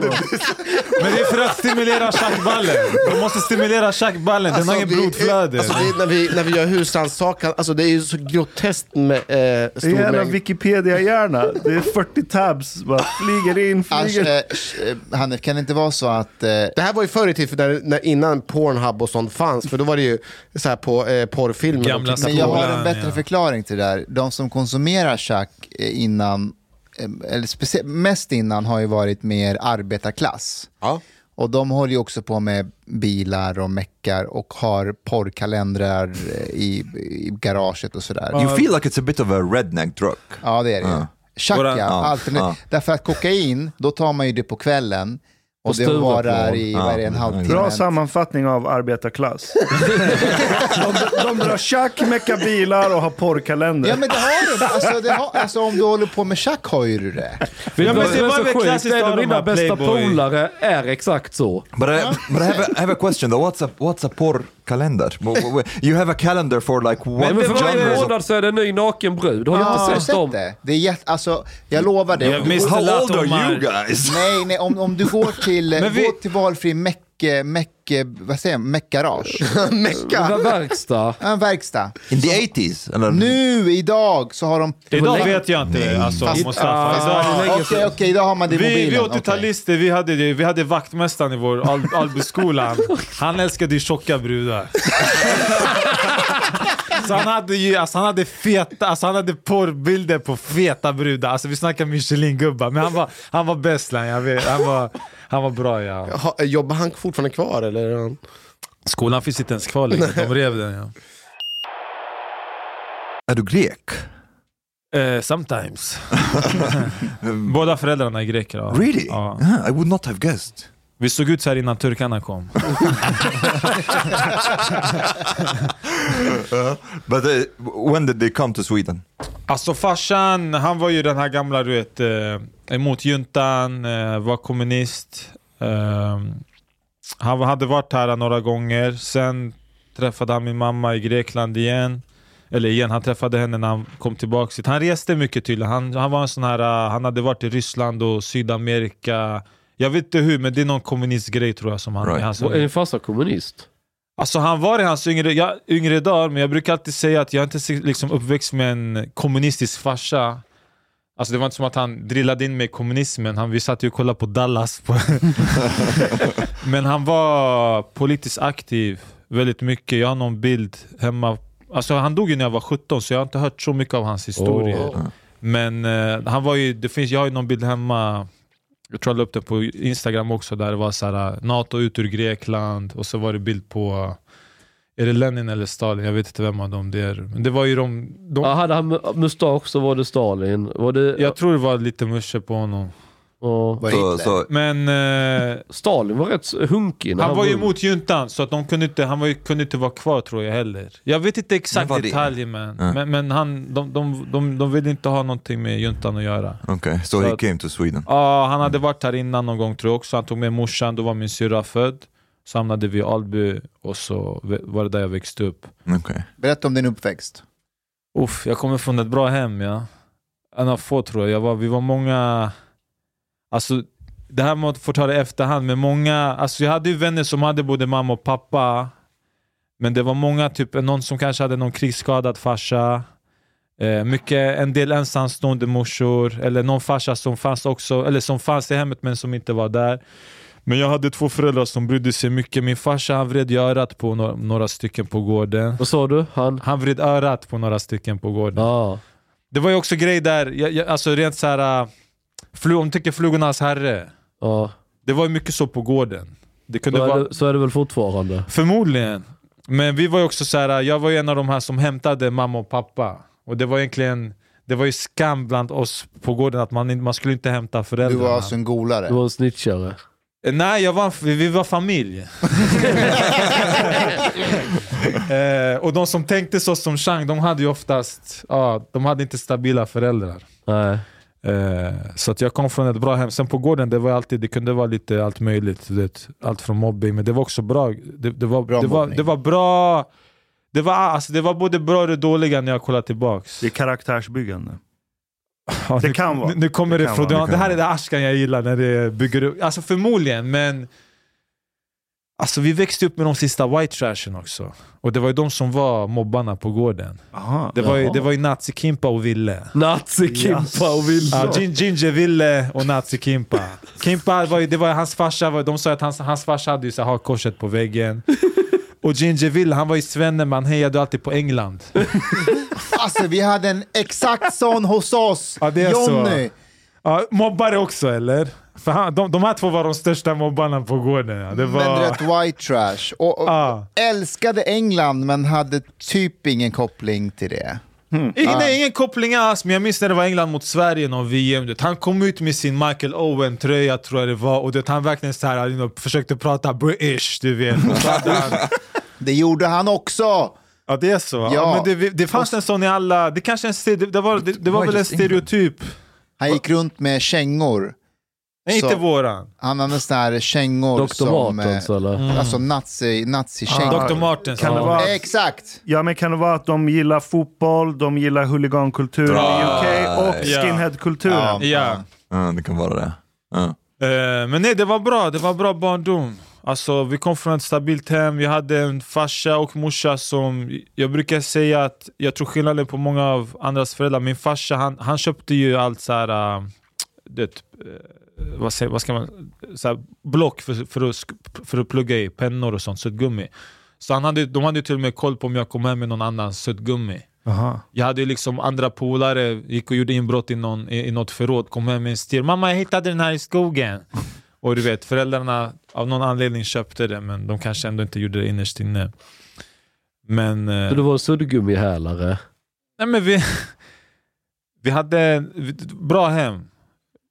Speaker 2: Men det är för att stimulera schackballen. De måste stimulera schackballen, den har
Speaker 1: Alltså,
Speaker 2: inget
Speaker 1: vi-
Speaker 2: blodflöde.
Speaker 1: Alltså, det, är när, vi, när vi gör husrannsakan, alltså, det är ju så groteskt med eh,
Speaker 5: Det är
Speaker 1: stor
Speaker 5: jävla
Speaker 1: mängd.
Speaker 5: Wikipedia-hjärna. Det är 40 tabs. Bara flyger in,
Speaker 3: Asch,
Speaker 5: flyger
Speaker 3: eh, sh- eh, Hanif, kan det inte vara så att... Eh,
Speaker 1: Det här var ju förr i tiden, för när, när, innan Pornhub och sånt fanns, för då var det ju så här på eh, porrfilmer.
Speaker 2: Gamla
Speaker 1: de tittar
Speaker 3: men jag
Speaker 1: på.
Speaker 3: har
Speaker 2: Polen,
Speaker 3: en bättre
Speaker 2: ja.
Speaker 3: förklaring till det där. De som konsumerar schack eh, innan, eh, eller specie- mest innan, har ju varit mer arbetarklass.
Speaker 1: Ja.
Speaker 3: Och de håller ju också på med bilar och meckar och har porrkalendrar eh, i, i garaget och
Speaker 2: Uh,
Speaker 3: sådär.
Speaker 4: You feel like it's a bit of a redneck drug.
Speaker 3: Ja, det är det ju. Chack
Speaker 2: Våra-
Speaker 3: ja,
Speaker 4: ja,
Speaker 3: alternativ.
Speaker 4: ja.
Speaker 3: Därför att kokain, då tar man ju det på kvällen och,
Speaker 6: Och
Speaker 3: det
Speaker 6: stuvar
Speaker 3: varar
Speaker 6: på.
Speaker 3: i vad är det, en halvtimme.
Speaker 5: Bra sammanfattning
Speaker 2: [laughs]
Speaker 5: av arbetarklass. de, de drar tjack, meckar bilar och har porrkalender.
Speaker 3: Ja men det har du. Alltså, det har, alltså om du håller på med chack har ju du det.
Speaker 6: Vet
Speaker 2: Ja,
Speaker 6: du
Speaker 2: men
Speaker 6: vad
Speaker 2: det
Speaker 6: som är
Speaker 2: var
Speaker 6: så
Speaker 2: väl
Speaker 6: sjukt?
Speaker 2: klassiskt
Speaker 6: En
Speaker 2: av
Speaker 6: av
Speaker 2: de
Speaker 6: mina
Speaker 2: här
Speaker 6: bästa
Speaker 2: Playboy.
Speaker 6: polare är exakt så.
Speaker 4: But I, but I have, a, I have a question though. What's a what's a poor calendar? W- w- w- You have a calendar for like what
Speaker 6: Men för varje
Speaker 4: genres? of-
Speaker 6: månad så är det en ny naken brud. Har
Speaker 3: Har du
Speaker 6: du inte sett
Speaker 3: sett
Speaker 6: dem?
Speaker 3: det? det är jätte, alltså, jag lovar dig.
Speaker 2: Jag missade
Speaker 4: How
Speaker 2: Lato
Speaker 4: old are
Speaker 2: Omar.
Speaker 4: you guys?
Speaker 3: Nej, nej om, om du går till,
Speaker 2: [laughs] Men vi-
Speaker 3: gå till valfri meck, meck, vad säger jag,
Speaker 6: [laughs]
Speaker 3: meckgarage.
Speaker 6: Det
Speaker 1: Mecka!
Speaker 6: var verkstad.
Speaker 3: Ja, En verkstad.
Speaker 4: [laughs] In the 80s? Eller?
Speaker 3: Nu, idag, så har de...
Speaker 2: Idag vet jag inte, alltså
Speaker 3: Fast-
Speaker 2: Mustafa.
Speaker 3: Ah,
Speaker 2: Idag-
Speaker 3: Okej, okej, idag har man det i
Speaker 2: Vi,
Speaker 3: mobilen.
Speaker 2: vi
Speaker 3: okej.
Speaker 2: 80-talister, vi, hade, det- vi hade vaktmästaren i vår Al Albyskolan. Han älskade ju tjocka brudar. Så han hade ju, alltså han hade feta, alltså han hade porrbilder på feta brudar. Alltså vi snackar Michelin-gubbar. Men han var, han var bäst, Lan, jag vet. han var, han var bra ja.
Speaker 1: Ha, jobbar han fortfarande kvar eller? är han-
Speaker 2: Skolan finns inte ens kvar längre, de rev den ja.
Speaker 4: Är du grek?
Speaker 2: Eh, sometimes. [laughs] Båda föräldrarna är greker. Ja.
Speaker 4: Really?
Speaker 2: Ja.
Speaker 4: Ah, I would not have guessed.
Speaker 2: Vi såg ut så här innan turkarna kom.
Speaker 4: But uh, when did they come to Sweden?
Speaker 2: Alltså farsan, han var ju den här gamla du vet, eh, emot juntan, eh, var kommunist. Eh, han hade varit här några gånger, sen träffade han min mamma i Grekland igen. Eller igen, han träffade henne när han kom tillbaka. hit. Han reste mycket tydligen. Han, han, var en sån här, eh, han hade varit i Ryssland och Sydamerika. Jag vet inte hur, men det är någon kommunistgrej tror jag. som han,
Speaker 4: Right.
Speaker 2: i hans
Speaker 6: Är din farsa kommunist?
Speaker 2: Alltså han var i hans yngre, jag, yngre dagar, men jag brukar alltid säga att jag inte är liksom uppväxt med en kommunistisk farsa. Alltså det var inte som att han drillade in mig i kommunismen. Han, vi satt ju och kollade på Dallas. På [laughs] Men han var politiskt aktiv väldigt mycket. Jag har någon bild hemma. Alltså han dog ju när jag var 17, så jag har inte hört så mycket av hans historier. Men eh, han var ju, det finns, jag har ju någon bild hemma, jag tror jag la upp den på Instagram också, där det var så här, äh, NATO ut ur Grekland och så var det bild på, äh, är det Lenin eller Stalin? Jag vet inte vem av dem det är. Men det var ju de, de
Speaker 4: Ah.
Speaker 6: Ja, hade han mu- mustasch så var det Stalin. Var det,
Speaker 2: jag tror det var lite musche på honom.
Speaker 6: ja.
Speaker 3: Var
Speaker 4: Så,
Speaker 3: Hitler.
Speaker 4: så, [laughs]
Speaker 2: Men eh,
Speaker 6: Stalin var rätt hunkig när
Speaker 2: han var ju
Speaker 6: ung.
Speaker 2: emot juntan, så att de kunde inte, han var ju, kunde inte vara kvar tror jag heller. Jag vet inte exakt
Speaker 4: Men vad det-
Speaker 2: detaljer men,
Speaker 4: Ja.
Speaker 2: men, men han, de, de, de, de ville inte ha någonting med juntan att göra.
Speaker 4: okay. so
Speaker 2: Så
Speaker 4: he
Speaker 2: att-
Speaker 4: came to Sweden.
Speaker 2: Ja, han hade varit här innan någon gång tror jag också. Han tog med morsan, då var min syrra född. Så hamnade vi i Alby och så ve- var det där jag växte upp.
Speaker 4: Okay.
Speaker 3: Berätta om din uppväxt.
Speaker 2: Uff, jag kommer från ett bra hem ja. En av få tror jag. jag var, vi var många... Alltså, det här måste få ta det i efterhand, men många... Alltså jag hade ju vänner som hade både mamma och pappa. Men det var många, typ någon som kanske hade någon krigsskadad farsa. Eh, mycket, en del ensamstående morsor, eller någon farsa som fanns också, eller som fanns i hemmet men som inte var där. Men jag hade två föräldrar som brydde sig mycket. Min farsa han vred ju örat på några, några stycken på gården.
Speaker 6: Vad sa du? Han?
Speaker 2: Han vred örat på några stycken på gården.
Speaker 6: Ja.
Speaker 2: Det var ju också grej där, jag, jag, alltså rent såhär, äh, flu, om tycker flugornas herre.
Speaker 6: ja.
Speaker 2: Det var ju mycket så på gården. Det kunde
Speaker 6: Så,
Speaker 2: vara,
Speaker 6: är det, så är det väl fortfarande.
Speaker 2: Förmodligen. Men vi var ju också såhär, jag var ju en av de här som hämtade mamma och pappa. Och det var egentligen, det var ju skam bland oss på gården att man, in- man skulle inte hämta
Speaker 3: Du
Speaker 2: föräldrarna. Eh,
Speaker 3: var alltså en golare.
Speaker 6: Du var en snitchare.
Speaker 2: Nej, jag var, en f- vi var
Speaker 3: [laughs]
Speaker 2: familj. eh, och de som tänkte så som Chang, de hade ju oftast, ja, de hade inte stabila föräldrar.
Speaker 6: Nej.
Speaker 2: Eh, så att jag kom från ett bra hem. Sen på gården, det var alltid, det kunde vara lite allt möjligt. Du vet, allt från mobbing, men det var också bra. Det, det, var,
Speaker 3: Bra
Speaker 2: det, var,
Speaker 3: mobbning.
Speaker 2: det var bra. Det var, alltså, det var både bra och det dåliga när jag kollar tillbaks.
Speaker 5: Det är karaktärsbyggande.
Speaker 2: Ja,
Speaker 5: det
Speaker 2: nu-
Speaker 5: kan vara.
Speaker 2: Nu, nu kommer
Speaker 5: Det
Speaker 2: det,
Speaker 5: kan
Speaker 2: från...
Speaker 5: vara, det
Speaker 2: Det,
Speaker 5: kan
Speaker 2: här är det askan jag gillar när det bygger upp. Alltså förmodligen, men... Alltså vi växte upp med de sista white trashen också. Och det var ju de som var mobbarna på gården.
Speaker 5: Aha.
Speaker 2: Det var ju,
Speaker 6: Jaha.
Speaker 2: det var ju nazikimpa och Ville.
Speaker 6: Nazi-Kimpa och Wilson.
Speaker 2: Ja, Gin- Ginger Ville och Nazi Kimpa. Kimpa, var ju, det var ju hans farsa, var, de sa att hans, hans farsa hade ju så här hakkorset på väggen. Och Ginger Ville, han var ju svenne, man hejade alltid på England.
Speaker 3: Alltså vi hade en exakt sån hos oss!
Speaker 2: Ja, det är så.
Speaker 3: Johnny!
Speaker 2: Ja, mobbare också eller? För han, de, de här två var de största mobbarna på gården. Ja. Det
Speaker 3: Men
Speaker 2: var...
Speaker 3: rätt white trash. Och, och,
Speaker 2: Ja.
Speaker 3: Älskade England men hade typ ingen koppling till det.
Speaker 2: Ingen, nej, ingen koppling alls, men jag minns när det var England mot Sverige någon VM. du vet. Han kom ut med sin Michael Owen-tröja tror jag det var, och det, han verkligen så här, you know, försökte prata British, du vet.
Speaker 3: Det gjorde han också!
Speaker 2: Ja det är så? Ja.
Speaker 3: Ja.
Speaker 2: men det, det fanns en sån i alla, det kanske en, stere- det var, det, det var
Speaker 4: Why
Speaker 2: väl en
Speaker 4: just England?
Speaker 2: stereotyp?
Speaker 3: Han gick runt med kängor.
Speaker 2: Nej
Speaker 3: Så-
Speaker 2: inte våran.
Speaker 3: Han hade såna här kängor
Speaker 6: Dr.
Speaker 3: som...
Speaker 6: Martens
Speaker 3: eh,
Speaker 6: eller?
Speaker 3: Alltså nazi, nazikängor.
Speaker 2: Dr. Martens.
Speaker 5: Ah, Kan det
Speaker 2: ja.
Speaker 5: vara- Ah.
Speaker 3: Exakt!
Speaker 5: Ja, men kan det vara att de gillar fotboll, de gillar huligankultur i UK och
Speaker 2: Ja.
Speaker 5: skinheadkulturen?
Speaker 3: Ja.
Speaker 2: Ja.
Speaker 4: Ja, det kan vara det. Ja.
Speaker 2: Eh, men nej det var bra, det var bra barndom. Alltså vi kom från ett stabilt hem, vi hade en farsa och morsa som, jag brukar säga att jag tror skillnaden på många av andras föräldrar, min farsa han, han köpte ju allt så här, äh, det, eh, vad, säger, vad ska man, så här, block för, för, att, sk- för att plugga i, pennor och sånt, suddgummi. Så han hade, de hade ju till och med koll på om jag kom hem med någon annans suddgummi.
Speaker 5: Aha.
Speaker 2: Jag hade ju liksom andra polare, gick och gjorde inbrott i, någon, i, i något förråd, kom hem med en stil. Mamma jag hittade den här i skogen. Och du vet, föräldrarna av någon anledning köpte det men de kanske ändå inte gjorde det innerst inne. Men, eh,
Speaker 6: Så du var en suddgummihälare?
Speaker 2: nej, men vi, vi hade ett bra hem.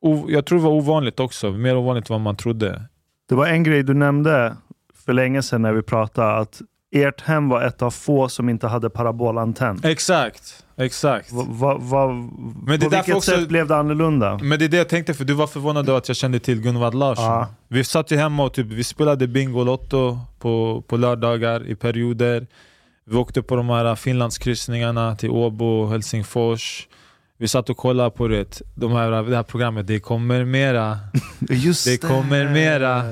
Speaker 2: O, jag tror det var ovanligt också, mer ovanligt än vad man trodde.
Speaker 5: Det var en grej du nämnde för länge sedan när vi pratade, att ert hem var ett av få som inte hade parabolantenn.
Speaker 2: Exakt, exakt.
Speaker 5: Va, va, va,
Speaker 2: Eh. det är
Speaker 5: på vilket
Speaker 2: därför också- Mm.
Speaker 5: sätt blev det annorlunda?
Speaker 2: Men det är det jag tänkte, för du var förvånad över att jag kände till Gunvald Larsson.
Speaker 5: Ja.
Speaker 2: Vi satt ju hemma och typ, vi spelade Bingolotto på, på lördagar i perioder. Vi åkte på de här Finlandskryssningarna till Åbo, Helsingfors. Vi satt och kollade på det, de här, det här programmet, Det kommer mera.
Speaker 5: Just
Speaker 2: Det kommer mera.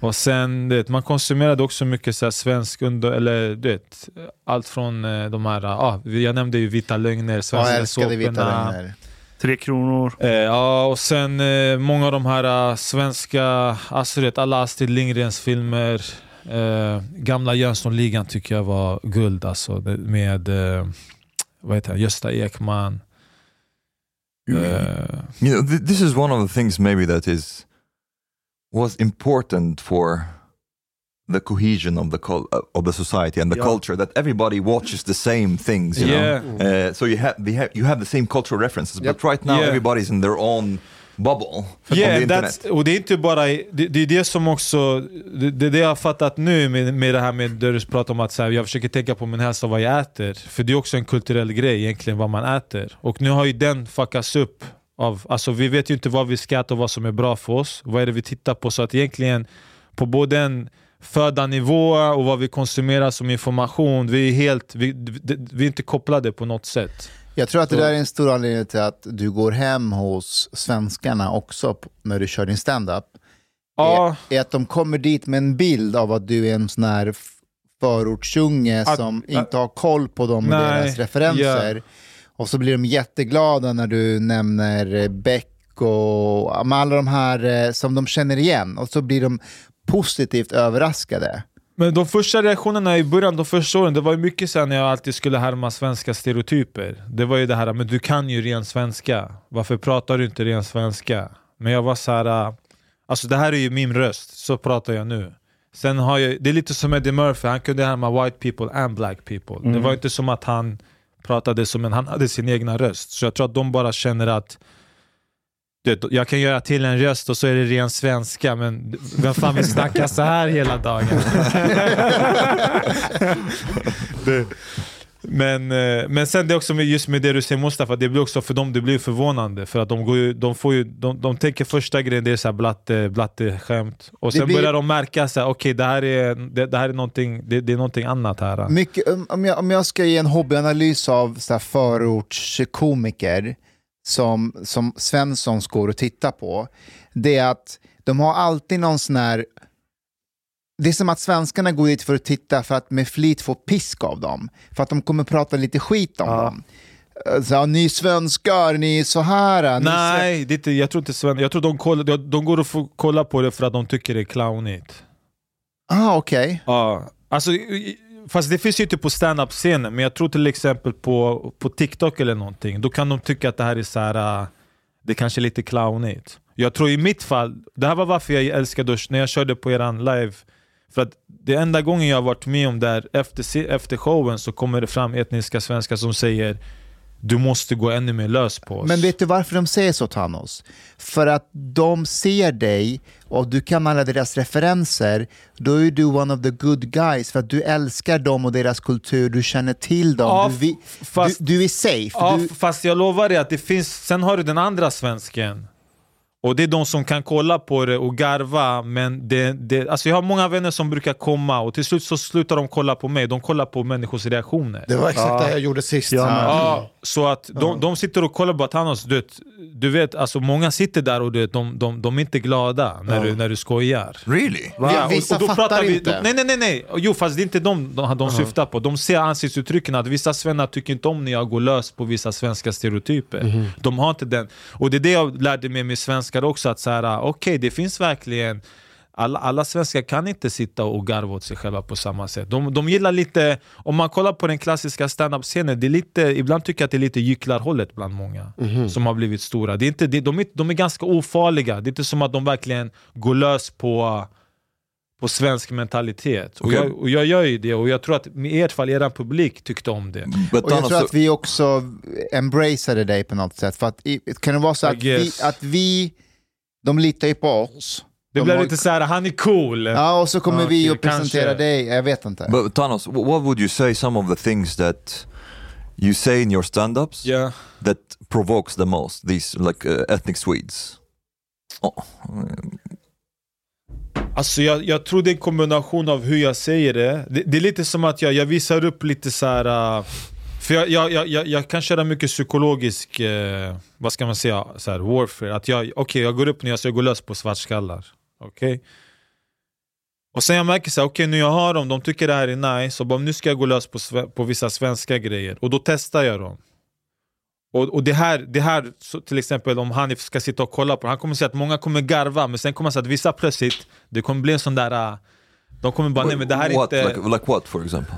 Speaker 2: Och sen, du vet, man konsumerade också mycket så här svensk under, eller du vet, allt från eh, de här, ah, jag nämnde ju Vita Lögner,
Speaker 3: Jag
Speaker 2: Svenska
Speaker 3: älskade vita lögner.
Speaker 5: Tre kronor.
Speaker 2: Eh, ja, och sen eh, många av de här eh, svenska, alltså du vet, alla Astrid Lindgrens filmer. Eh, gamla Jönssonligan tycker jag var guld alltså. Det- Med eh, vad heter han? Gösta Ekman.
Speaker 4: Mm.
Speaker 2: Eh,
Speaker 4: You know, th- this is one of the things maybe that is was important for the cohesion of the cul- uh, of the society and the
Speaker 2: Yeah.
Speaker 4: culture that everybody watches the same things. You
Speaker 2: Yeah.
Speaker 4: know, uh, so you have you have you have the same cultural references, but right now
Speaker 2: Yeah.
Speaker 4: everybody's in their own bubble on the
Speaker 2: Yeah,
Speaker 4: internet.
Speaker 2: that's, och det är inte bara, i- det, det är det som också, det, det är det jag har fattat nu med, med det här med där du pratar om att så här, jag försöker tänka på min hälsa och vad jag äter. För det är också en kulturell grej egentligen vad man äter. Och nu har ju den fuckats upp. Av, alltså vi vet ju inte vad vi ska äta och vad som är bra för oss. Vad är det vi tittar på? Så att egentligen på både en födanivå och vad vi konsumerar som information, vi är helt, vi, vi, vi är inte kopplade på något sätt.
Speaker 3: Jag tror att det där är en stor anledning till att du går hem hos svenskarna också p- när du kör din standup.
Speaker 2: Ja,
Speaker 3: Är, är att de kommer dit med en bild av att du är en sån här f- förortsunge
Speaker 2: Att- äh,
Speaker 3: som inte har koll på dem och
Speaker 2: Nej,
Speaker 3: deras referenser. Och så blir de jätteglada när du nämner eh, Beck och ja, men alla de här eh, som de känner igen. Och så blir de positivt överraskade.
Speaker 2: Men de första reaktionerna i början, de första åren, det var ju mycket sen när jag alltid skulle härma svenska stereotyper. Det var ju det här, men du kan ju ren svenska. Varför pratar du inte ren svenska? Men jag var så här, äh, alltså det här är ju min röst, så pratar jag nu. Sen har jag, det är lite som Eddie Murphy, han kunde härma white people and black people. Det var inte som att han pratade som en, han hade sin egna röst. Så jag tror att de bara känner att du vet, jag kan göra till en röst och så är det ren svenska, men vem fan vill snacka så här hela
Speaker 3: [laughs]
Speaker 2: dagen? det. Men, eh, men sen det är också med, just med det du säger Mustafa, det blir också för dem det blir förvånande. För att de, går ju, de, får ju, de, de tänker första grejen det är så här blatte, blatte eh, skämt. Och
Speaker 3: Det
Speaker 2: sen
Speaker 3: blir-
Speaker 2: börjar de märka så här, okej det här är, det, det här är, någonting, det, det är någonting annat här.
Speaker 3: Mycket, om- om, jag, om jag ska ge en hobbyanalys av så här förortskomiker som, som Svenssons går och tittar på, det är att de har alltid någon sån här... Det är som att svenskarna går dit för att titta för att med flit få pisk av dem. För att de kommer prata lite skit om dem. Så, här, ni svenskar, ni är så här. Ni är så...
Speaker 2: Nej, det är inte, jag tror inte Sven, jag tror de, kollar, de, de går och får kolla på det för att de tycker det är clownigt.
Speaker 3: Ah, okej.
Speaker 2: Ja, alltså, i- i- fast det finns ju inte på standup-scenen, men jag tror till exempel på, på TikTok eller någonting, då kan de tycka att det här är så här, äh, det kanske är lite clownigt. Jag tror i mitt fall, det här var varför jag älskade Dusch, när jag körde på eran live, för att det enda gången jag har varit med om där efter, se- efter showen så kommer det fram etniska svenskar som säger du måste gå ännu mer lös på oss.
Speaker 3: Men vet du varför de säger så Thanos? För att de ser dig och du kan alla deras referenser, då är du one of the good guys för att du älskar dem och deras kultur, du känner till dem,
Speaker 2: Ja,
Speaker 3: du, vi,
Speaker 2: f- fast-
Speaker 3: du, du är safe.
Speaker 2: Ja,
Speaker 3: du,
Speaker 2: f- fast jag lovar dig att det finns... Sen har du den andra svensken. Och det är de som kan kolla på det och garva, men det, det, alltså jag har många vänner som brukar komma och till slut så slutar de kolla på mig, de kollar på människors reaktioner.
Speaker 1: Det var exakt det jag gjorde sist.
Speaker 5: Ja, men-
Speaker 2: Ja, så att de, de sitter och kollar på Thanos, du vet, du vet alltså många sitter där och du vet, de, de, de är inte glada när, du, när du skojar.
Speaker 4: really?
Speaker 3: Ja,
Speaker 2: och-
Speaker 3: vissa
Speaker 2: och då
Speaker 3: fattar
Speaker 2: pratar vi,
Speaker 3: inte.
Speaker 2: Nej, nej, nej, nej. Jo, fast det är inte de de, de syftar på. De ser ansiktsuttrycken att vissa svennar tycker inte om när jag går lös på vissa svenska stereotyper.
Speaker 3: Mhm.
Speaker 2: De har inte den. Och det är det jag lärde mig med svenskar också, att så här, okej, det finns verkligen alla, alla svenskar kan inte sitta och garva åt sig själva på samma sätt. De, de gillar lite, om man kollar på den klassiska standup-scenen, det är lite, ibland tycker jag att det är lite gycklarhållet bland många
Speaker 3: Mhm.
Speaker 2: som har blivit stora. Det är inte, det, de, är, de är ganska ofarliga, det är inte som att de verkligen går lös på på svensk mentalitet. Och,
Speaker 4: Okej.
Speaker 2: jag, och jag gör ju det och jag tror att i ert fall, er publik tyckte om det.
Speaker 4: But
Speaker 3: och jag
Speaker 4: Thanos,
Speaker 3: tror att vi också embraceade dig på något sätt. För att, i- kan det vara så
Speaker 2: I
Speaker 3: att vi,
Speaker 2: guess.
Speaker 3: att vi, de litar ju på oss.
Speaker 2: Det
Speaker 3: De
Speaker 2: blev
Speaker 3: har-
Speaker 2: lite så här, han är cool.
Speaker 3: Ja, och så kommer
Speaker 2: Ja,
Speaker 3: vi
Speaker 2: okej,
Speaker 3: och presentera
Speaker 2: kanske.
Speaker 3: dig, jag vet inte.
Speaker 4: uh, but Thanos, wh- what would you say some of the things that you say in your stand-ups
Speaker 2: Ja.
Speaker 4: that provokes the most these like uh, ethnic Swedes? Oh,
Speaker 2: Alltså jag, jag tror det är en kombination av hur jag säger det. Det, det är lite som att jag, jag visar upp lite så här. äh, för jag, jag, jag, jag, jag kan köra mycket psykologisk, eh, vad ska man säga, så här, warfare. Att jag, okej jag går upp nu, alltså jag går lös på svartskallar. Okej? Och sen jag märker så här, okej nu jag har dem, de tycker det här är nice, och bara, nu ska jag gå lös på, sve- på vissa svenska grejer. Och då testar jag dem. Och, och det här, det här så till exempel om Hanif ska sitta och kolla på det, han kommer säga att många kommer garva, men sen kommer han säga att vissa plötsligt, det kommer bli en sån där... äh, De kommer bara, nej men det här är
Speaker 4: what,
Speaker 2: inte...
Speaker 4: like, like what, for example?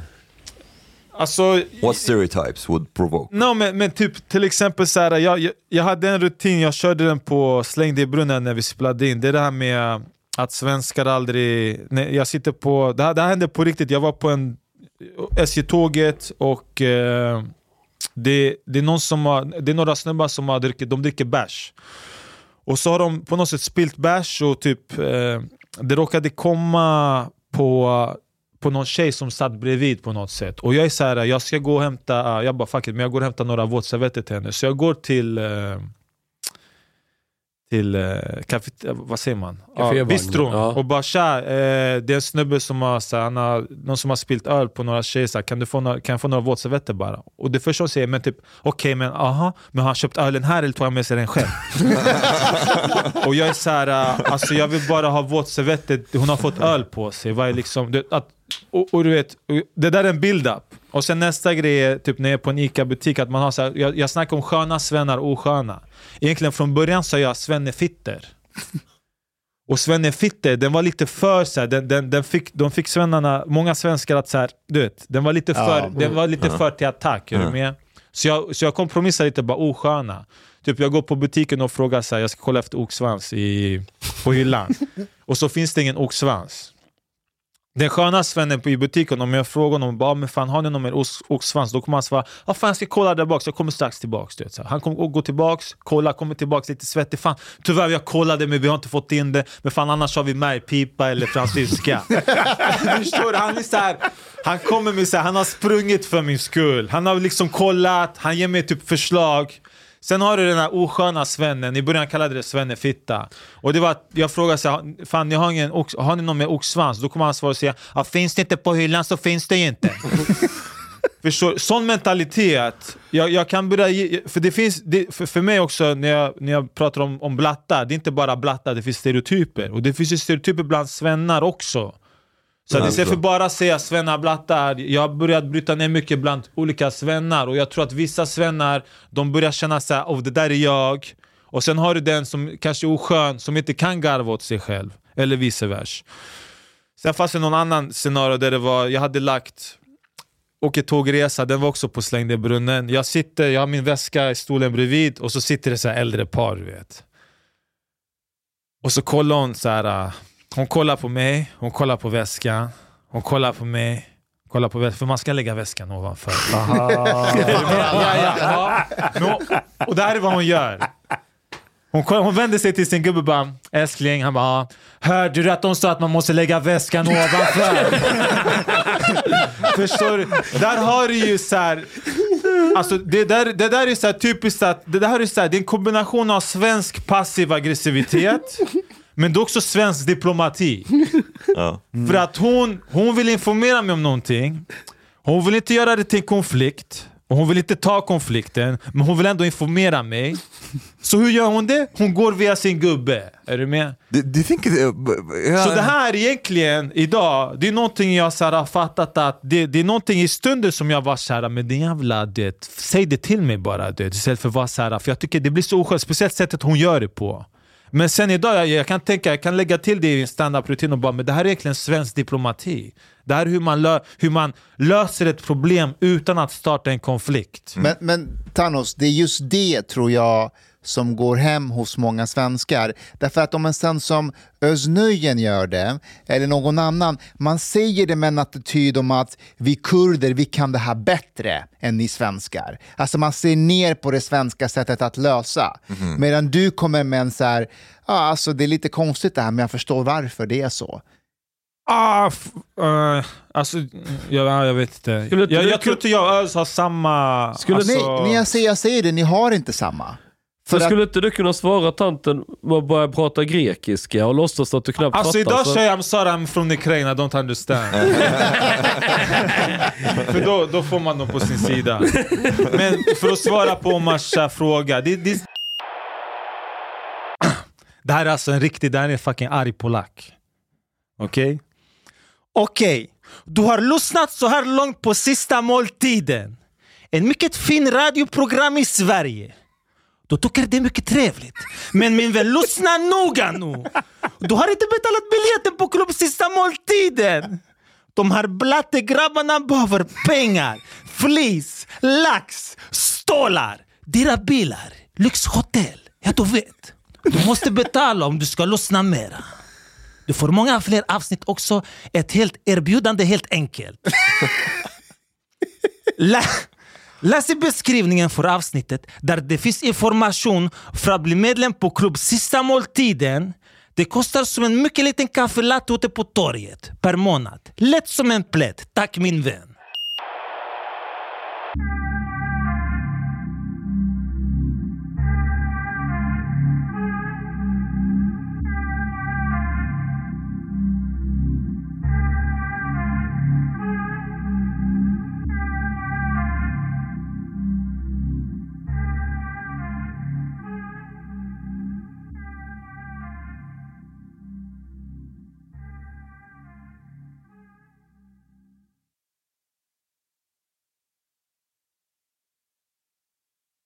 Speaker 2: Alltså,
Speaker 4: What stereotypes would provoke?
Speaker 2: No, men, men typ till exempel så här, jag, jag, jag hade en rutin, jag körde den på Släng dig i brunnen när vi spelade in. Det är det här med att svenskar aldrig... Nej, jag sitter på... Det här, det här hände på riktigt. Jag var på en SJ-tåget och eh, det, det, är någon som har, det är några snubbar som har dricker, de dricker bärs. Och så har de på något sätt spilt bärs och typ eh, det råkade komma på, på någon tjej som satt bredvid på något sätt. Och jag är så här, jag ska gå och hämta, eh, jag bara fuck it, men jag går och hämtar några våtservetter till henne. Så jag går till eh, till eh, kafet- eh, vad säger man? Ja,
Speaker 6: Cafévagn.
Speaker 2: bistron
Speaker 6: Ja.
Speaker 2: och bara tja, eh, det är en snubbe som har, så här, han har, någon som har spilt öl på några tjejer, så här, kan, du få några, kan jag få några våtservetter bara? Och det första hon säger men typ, okej men aha, men har han köpt ölen här eller tog han med sig den själv? Och jag är så här, äh, alltså jag vill bara ha våtservettet, hon har fått öl på sig. Vad är liksom, det, att, och, och du vet, och det där är en build-up. Och sen nästa grej är typ när jag är på en ICA-butik, att man har så här, jag, jag snackar om sköna svennar och osköna. Egentligen från början sa jag svennefitter. Och svennefitter, den var lite för så här, den, den, den fick, de fick svennarna, många svenskar att så här, du vet, den var lite för, den var lite för till attack. Är du med? Så jag, så jag kompromissade lite, bara osköna. Typ jag går på butiken och frågar så här, jag ska kolla efter oxsvans i, på hyllan. och så finns det ingen oxsvans. Den sköna svennen på- i butiken, om jag frågar honom bara, "Ah, men fan, har ni någon mer ox, oxsvans? Då kommer han svara ah, fan, jag ska kolla där bak, så jag kommer strax tillbaks. Du vet, så här. han kommer gå- gå tillbaks, kolla, kommer tillbaks lite svettig. Fan, tyvärr jag kollade men vi har inte fått in det. Men fan annars har vi märgpipa eller fransyska. Förstår du? Han är så här, han kommer med så här, han har sprungit för min skull. Han har liksom kollat, han ger mig typ förslag. Sen har du den här osköna svennen, i början kallade det svennefitta. Och det var att jag frågade så här, fan ni har, ingen ox, har ni någon med oxsvans? Då kommer han svara och säga, ah, finns det inte på hyllan så finns det inte. Förstår, sån mentalitet, jag, jag kan börja ge, för det finns, det, för, för mig också när jag, när jag pratar om, om blattar, det är inte bara blattar, det finns stereotyper. Och det finns ju stereotyper bland svennar också. Så att istället för bara säga svennar blattar, jag har börjat bryta ner mycket bland olika svennar och jag tror att vissa svennar, de börjar känna så här, oh, det där är jag. Och sen har du den som kanske är oskön, som inte kan garva åt sig själv. Eller vice versa. Sen fanns det någon annan scenario där det var, jag hade lagt åker tågresa, den var också på slängd i brunnen. Jag sitter, jag har min väska i stolen bredvid och så sitter det så här äldre par, du vet. Och så kollar hon så här. äh, Hon kollar på mig, hon kollar på väskan, hon kollar på mig, kollar på väskan. För man ska lägga väskan ovanför. [laughs] ja, ja, ja. Men hon, och det här är vad hon gör. Hon, kollar- hon vänder sig till sin gubbe och bara “Älskling”, han bara "Ja, “Hörde du att de sa att man måste lägga väskan ovanför?” Förstår du? Där har du ju så här. Alltså det där, det där är så här typiskt att, det där är så här, det är en kombination av svensk passiv aggressivitet, men det är också svensk diplomati. För att hon, hon vill informera mig om någonting, hon vill inte göra det till en konflikt, och hon vill inte ta konflikten, men hon vill ändå informera mig. Så hur gör hon det? Hon går via sin gubbe. Är du med?
Speaker 4: Do, do you think... It, uh, b- b- yeah,
Speaker 2: Så det här egentligen, idag, det är någonting jag så här, har fattat att det, det är någonting i stunden som jag var såhär, men din jävla det, säg det till mig bara det, istället för att vara såhär, för jag tycker det blir så oskönt, speciellt sättet hon gör det på. Men sen idag, jag, jag kan tänka, jag kan lägga till det i en standup-rutin och bara, men det här är egentligen svensk diplomati. Det här är hur man, lö, hur man löser ett problem utan att starta en konflikt.
Speaker 3: Men, men Thanos, det är just det tror jag som går hem hos många svenskar. Därför att om en sen som Özz-Nujen gör det, eller någon annan, man säger det med en attityd om att vi kurder, vi kan det här bättre än ni svenskar. Alltså man ser ner på det svenska sättet att lösa. Medan du kommer med en så här, ja alltså det är lite konstigt det här men jag förstår varför det är så.
Speaker 2: Ah, f- eh, alltså, jag, jag vet inte.
Speaker 6: Skulle
Speaker 2: Jag,
Speaker 6: inte du-
Speaker 2: jag tror inte jag och Öz har samma...
Speaker 6: Skulle-
Speaker 2: alltså,
Speaker 3: Nej, när jag säger, jag säger det, ni har inte samma. För
Speaker 6: Men
Speaker 3: att-
Speaker 6: skulle inte du kunna svara tanten med att börja prata grekiska och låtsas att du knappt
Speaker 2: Alltså
Speaker 6: fattar?
Speaker 2: idag
Speaker 6: så-
Speaker 2: kör jag I'm sorry I'm from Ukraine, I don't understand. för då, då får man dem på sin sida. Men för att svara på Omars äh, fråga. Det, det... [clears throat] det här är alltså en riktig, det här är en fucking arg polack. Okej? Okej, du har lyssnat så här långt på sista måltiden.
Speaker 7: en mycket fin radioprogram i Sverige. Du tycker det är mycket trevligt. Men min vän, lyssna noga nu! Du har inte betalat biljetten på klubb sista måltiden! De här blattegrabbarna behöver pengar, flis, lax, stålar, dyra bilar, lyxhotell. Ja, du vet. Du måste betala om du ska lyssna mera. Du får många fler avsnitt också. Ett helt erbjudande helt enkelt. Lä Läs i beskrivningen för avsnittet där det finns information för att bli medlem på klubb Sista Måltiden. Det kostar som en mycket liten kaffelatte ute på torget per månad. Lätt som en plätt. Tack min vän.